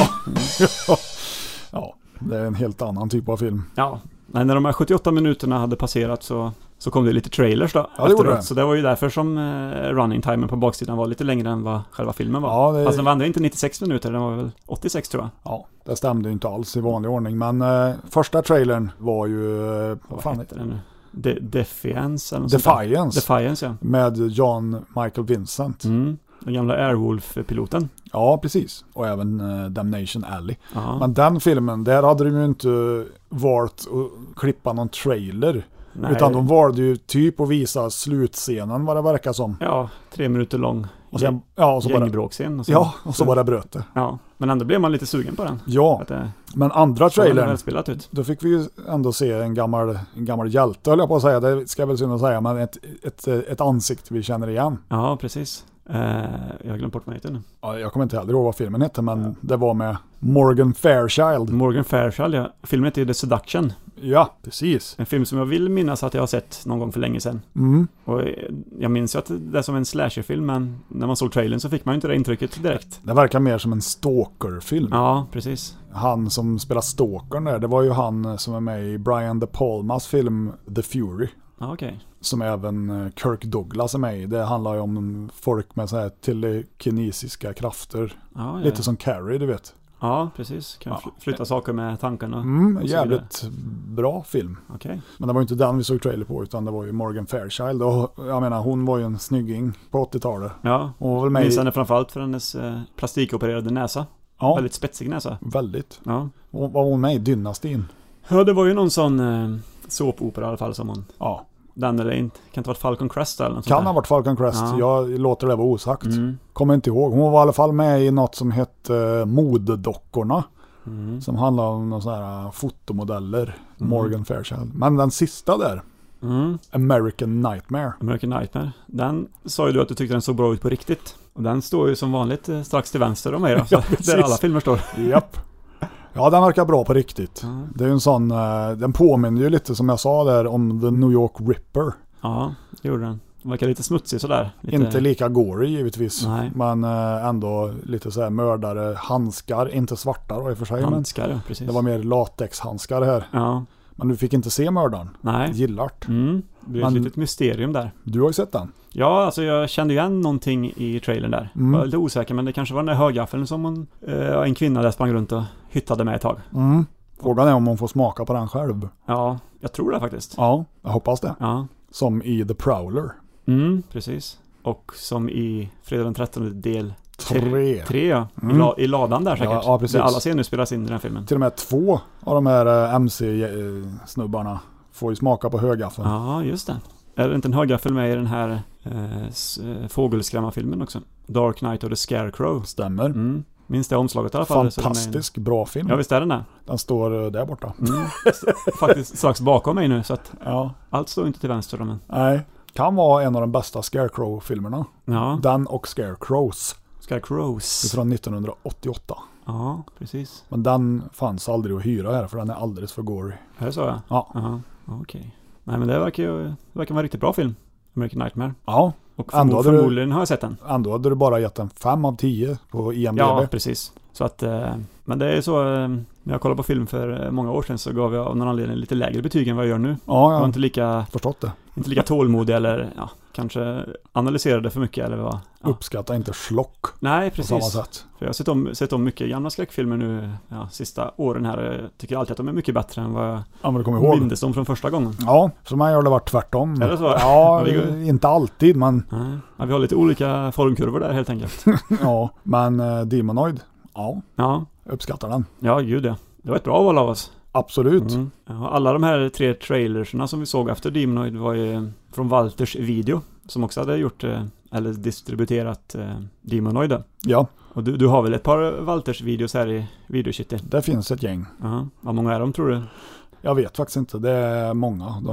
B: ja, det är en helt annan typ av film.
C: Ja. Nej, när de här 78 minuterna hade passerat så, så kom det lite trailers då.
B: det gjorde
C: efteråt.
B: det.
C: Så det var ju därför som eh, running timen på baksidan var lite längre än vad själva filmen var.
B: Ja, Alltså, det-
C: Fast den var ändå inte 96 minuter, den var väl 86 tror jag.
B: Ja, det stämde ju inte alls i vanlig ordning. Men eh, första trailern var ju... Eh, vad
C: Vad
B: fan
C: hette den nu? De Defiance eller något sånt där.
B: Defiance.
C: Defiance, ja.
B: med John Michael Vincent.
C: Mm. Den gamla Airwolf-piloten.
B: Ja, precis. Och även eh, Damnation Alley.
C: Ja.
B: Men den filmen, där hade de ju inte valt att klippa någon trailer.
C: Nej.
B: Utan de valde ju typ att visa slutscenen vad det verkar som.
C: Ja, tre minuter lång.
B: Och sen, ja, och så bara,
C: Gängbråkscen. och så-
B: ja, och så bara bröt det.
C: Ja, men ändå blev man lite sugen på den.
B: Ja,
C: Att det
B: men andra
C: såg väldigt
B: trailern,
C: välspelat ut.
B: då fick vi ju ändå se en gammal, en gammal hjälte höll jag på att säga. Det ska jag väl synd att säga, men ett, ett, ett ansikte vi känner igen.
C: Ja, precis. Eh, jag har glömt bort vad han heter nu.
B: Ja, jag kommer inte heller ihåg vad filmen hette, men det var med Morgan Fairchild.
C: Morgan Fairchild, ja. Filmen heter ju The Seduction.
B: Ja, precis.
C: En film som jag vill minnas att jag har sett någon gång för länge sedan.
B: Mm.
C: Och eh, jag minns ju att det är som en slasherfilm, men när man såg trailern så fick man ju inte det intrycket direkt.
B: Det verkar mer som en stalkerfilm.
C: Ja, precis.
B: Han som spelar stalkern där, det var ju han som är med i Brian De Palmas film The Fury.
C: Ja, okej.
B: Som även eh, Kirk Douglas är med i. Det handlar ju om folk med så här telekinesiska krafter.
C: Ja, ja,
B: Lite
C: ja.
B: som Carrie, du vet.
C: Ja, precis. Kan fl- flytta saker med tankarna.
B: Mm,
C: och så vidare.
B: jävligt bra film.
C: Okej.
B: Men det var ju inte den vi såg trailer på, utan det var ju Morgan Fairchild. Och jag menar, hon var ju en snygging på 80-talet.
C: Ja.
B: Hon var väl med
C: Minns
B: i...
C: henne framförallt för hennes eh, plastikopererade näsa.
B: Ja,
C: Väldigt spetsig näsa.
B: väldigt.
C: Ja.
B: Hon, var hon med i Dynastin?
C: Ja, det var ju någon sån eh, såpopera i alla fall som hon...
B: Ja.
C: Den eller inte. Kan inte ha varit Falcon Crest eller något sånt
B: Kan
C: där?
B: ha varit Falcon Crest,
C: Ja.
B: jag låter det vara osagt.
C: Mm.
B: Kommer inte ihåg. Hon var i alla fall med i något som hette eh, Modedockorna.
C: Mm.
B: Som handlar om några sådana här eh, fotomodeller. Morgan Fairchild. Men den sista där,
C: Mm.
B: American Nightmare.
C: American Nightmare. Den sa ju du att du tyckte den såg bra ut på riktigt. Och den står ju som vanligt eh, strax till vänster om mig då. Så
B: precis.
C: där alla filmer står.
B: Japp. Ja, den verkar bra på riktigt.
C: Ja.
B: Det är ju en sån, eh, den påminner ju lite som jag sa där om The New York Ripper.
C: Ja, det gjorde den. Den verkar lite smutsig sådär. Lite,
B: Inte lika gory givetvis,
C: Nej.
B: men eh, ändå lite så här mördare, handskar, inte svarta då i och för sig. Men
C: handskar, ja, precis.
B: det var mer latexhandskar här.
C: Ja,
B: Men du fick inte se mördaren.
C: nej.
B: Gillart.
C: Mm. Det blev ett
B: Man-
C: litet mysterium där.
B: Du har ju sett den.
C: Ja, alltså jag kände igen någonting i trailern där.
B: Mm.
C: Jag var lite osäker, men det kanske var den där högaffeln som hon, eh, en kvinna där sprang runt och hyttade med ett tag.
B: Mm. Frågan är om hon får smaka på den själv.
C: Ja, jag tror det faktiskt.
B: Ja, jag hoppas det.
C: Ja.
B: Som i The Prowler.
C: Mm, precis. Och som i Fredag den 13 del
B: Tre. Mm.
C: tre ja. I, la, I ladan där säkert.
B: Ja, ja, precis.
C: Där alla scener spelas in i den filmen.
B: Till och med två av de här eh, MC-snubbarna får ju smaka på högaffeln.
C: Ja, just det. Är det inte en högaffel med i den här eh, s- eh, fågelskrämmarfilmen också? Dark Knight of the Scarecrow.
B: Stämmer.
C: Mm. Minns det omslaget i alla fall? så är det med i en-
B: Fantastisk bra film.
C: Ja, visst är den det?
B: Den står eh, där borta.
C: Mm. S- Faktiskt strax bakom mig nu, så att
B: Ja.
C: allt står inte till vänster om en.
B: Nej. Kan vara en av de bästa Scarecrow-filmerna.
C: Ja,
B: Den och Scarecrows
C: Scarecrows.
B: från 1988.
C: Ja, precis.
B: Men den fanns aldrig att hyra här för den är alldeles för gory.
C: Är det så ja?
B: Ja.
C: Ja, okej. Nej men det verkar ju, det verkar vara en riktigt bra film. American Nightmare.
B: Ja,
C: Och
B: Ändå
C: förmo-
B: hade du-
C: förmodligen har jag sett den.
B: Ändå hade du bara gett en 5 av 10 på IMDB.
C: Ja, precis. Så att, eh, men det är så, eh, när jag kollade på film för eh, många år sedan så gav jag av någon anledning lite lägre betyg än vad jag gör nu.
B: ja
C: Jag
B: jag
C: var
B: har
C: inte lika,
B: förstått det.
C: inte lika tålmodig eller ja, kanske analyserade för mycket eller vad. Ja.
B: Uppskatta inte slock
C: Nej,
B: på samma
C: precis.
B: sätt.
C: För jag har sett om, sett om mycket gamla skräckfilmer nu ja, sista åren här. Jag tycker alltid att de är mycket bättre än vad
B: Ja, men du kommer
C: jag
B: ihåg.
C: mindes dem från första gången.
B: Ja, för mig har det varit tvärtom.
C: Är det så?
B: Ja,
C: Ja, det går-
B: inte alltid, men
C: Nej. Ja, vi har lite olika formkurvor där helt enkelt.
B: ja. Men eh, Demonoid, ja,
C: Ja,
B: uppskattar den.
C: ja gud ja. Det var ett bra val av oss.
B: Absolut.
C: Mm. Ja, alla de här tre trailerserna som vi såg efter Demonoid var ju från Walters video. Som också hade gjort, eh, eller distribuerat eh, Demonoid. då.
B: Ja,
C: Och du, du har väl ett par Walters videos här i videokittet?
B: det finns ett gäng.
C: Ja. Vad många är de tror du?
B: Jag vet faktiskt inte, det är många. De,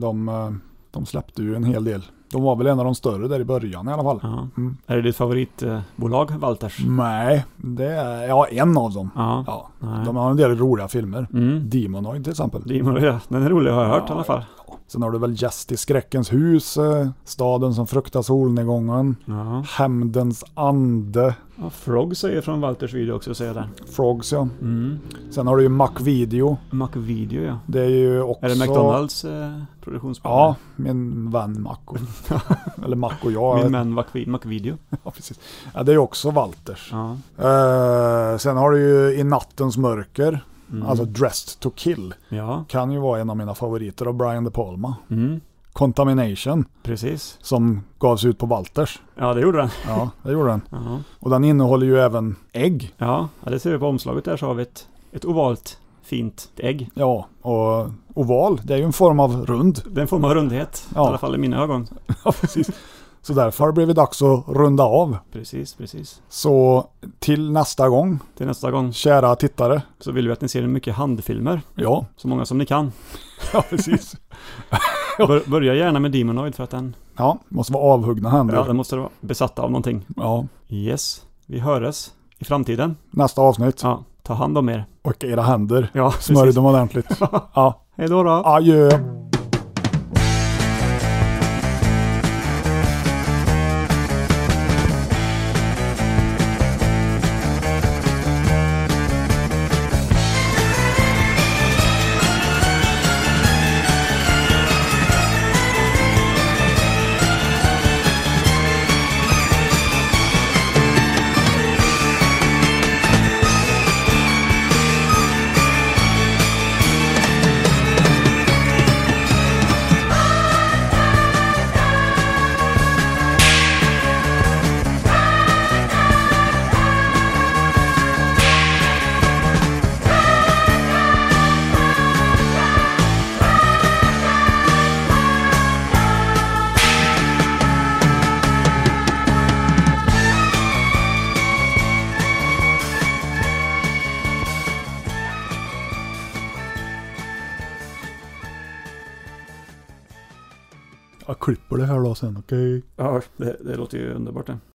C: Ja.
B: de, eh, de släppte ju en hel del. De var väl en av de större där i början i alla fall.
C: Ja.
B: Mm.
C: Är det ditt favoritbolag, Walters?
B: Nej, det är ja, en av dem.
C: Mm. Ja.
B: Ja,
C: Nej.
B: de har en del roliga filmer.
C: Mm.
B: Demonoid till exempel.
C: Demonoid, ja. Den är rolig har jag hört i
B: Ja,
C: alla fall.
B: Sen har du väl Gäst i skräckens hus, eh, Staden som fruktar solnedgången,
C: Ja.
B: Hämndens ande,
C: Ja, Frog säger från Walters video också, säger jag där.
B: Frogs ja.
C: Mm.
B: Sen har du ju Mac Video.
C: Mac Video, ja.
B: Det är ju också...
C: Är det McDonalds eh, produktionsbolag?
B: Ja, min vän Maco. Eller Maco och jag.
C: Min man Mac- Mac Video.
B: Ja, precis. Ja, det är ju också Walters.
C: Ja.
B: Eh, sen har du ju I nattens mörker,
C: Mm.
B: alltså Dressed to kill.
C: Ja.
B: Kan ju vara en av mina favoriter av Brian De Palma.
C: Mm.
B: Contamination,
C: Precis.
B: som gavs ut på Walters.
C: Ja, det gjorde den.
B: Ja, det gjorde den.
C: Ja.
B: Och den innehåller ju även ägg.
C: Ja, ja, det ser vi på omslaget där så har vi ett, ett ovalt fint ägg.
B: Ja, och oval, det är ju en form av rund.
C: Det är en form av rundhet,
B: Ja.
C: i alla fall i mina ögon.
B: Ja, precis. Så därför har det blivit dags att runda av.
C: Precis, precis.
B: Så till nästa gång,
C: Till nästa gång
B: kära tittare.
C: så vill vi att ni ser mycket handfilmer,
B: Ja,
C: så många som ni kan.
B: ja precis.
C: Bör, börja gärna med Demonoid för att den,
B: Ja, måste vara avhuggna händer.
C: ja,
B: Ja,
C: den måste vara besatt av någonting. Yes, vi höres i framtiden.
B: Nästa avsnitt.
C: Ja, ta hand om er.
B: Och era händer.
C: Ja,
B: Smörj dem ordentligt. Ja,
C: Hej då då.
B: adjö. Jag klipper det här då sen, okej?
C: Ja, det, det låter ju underbart det.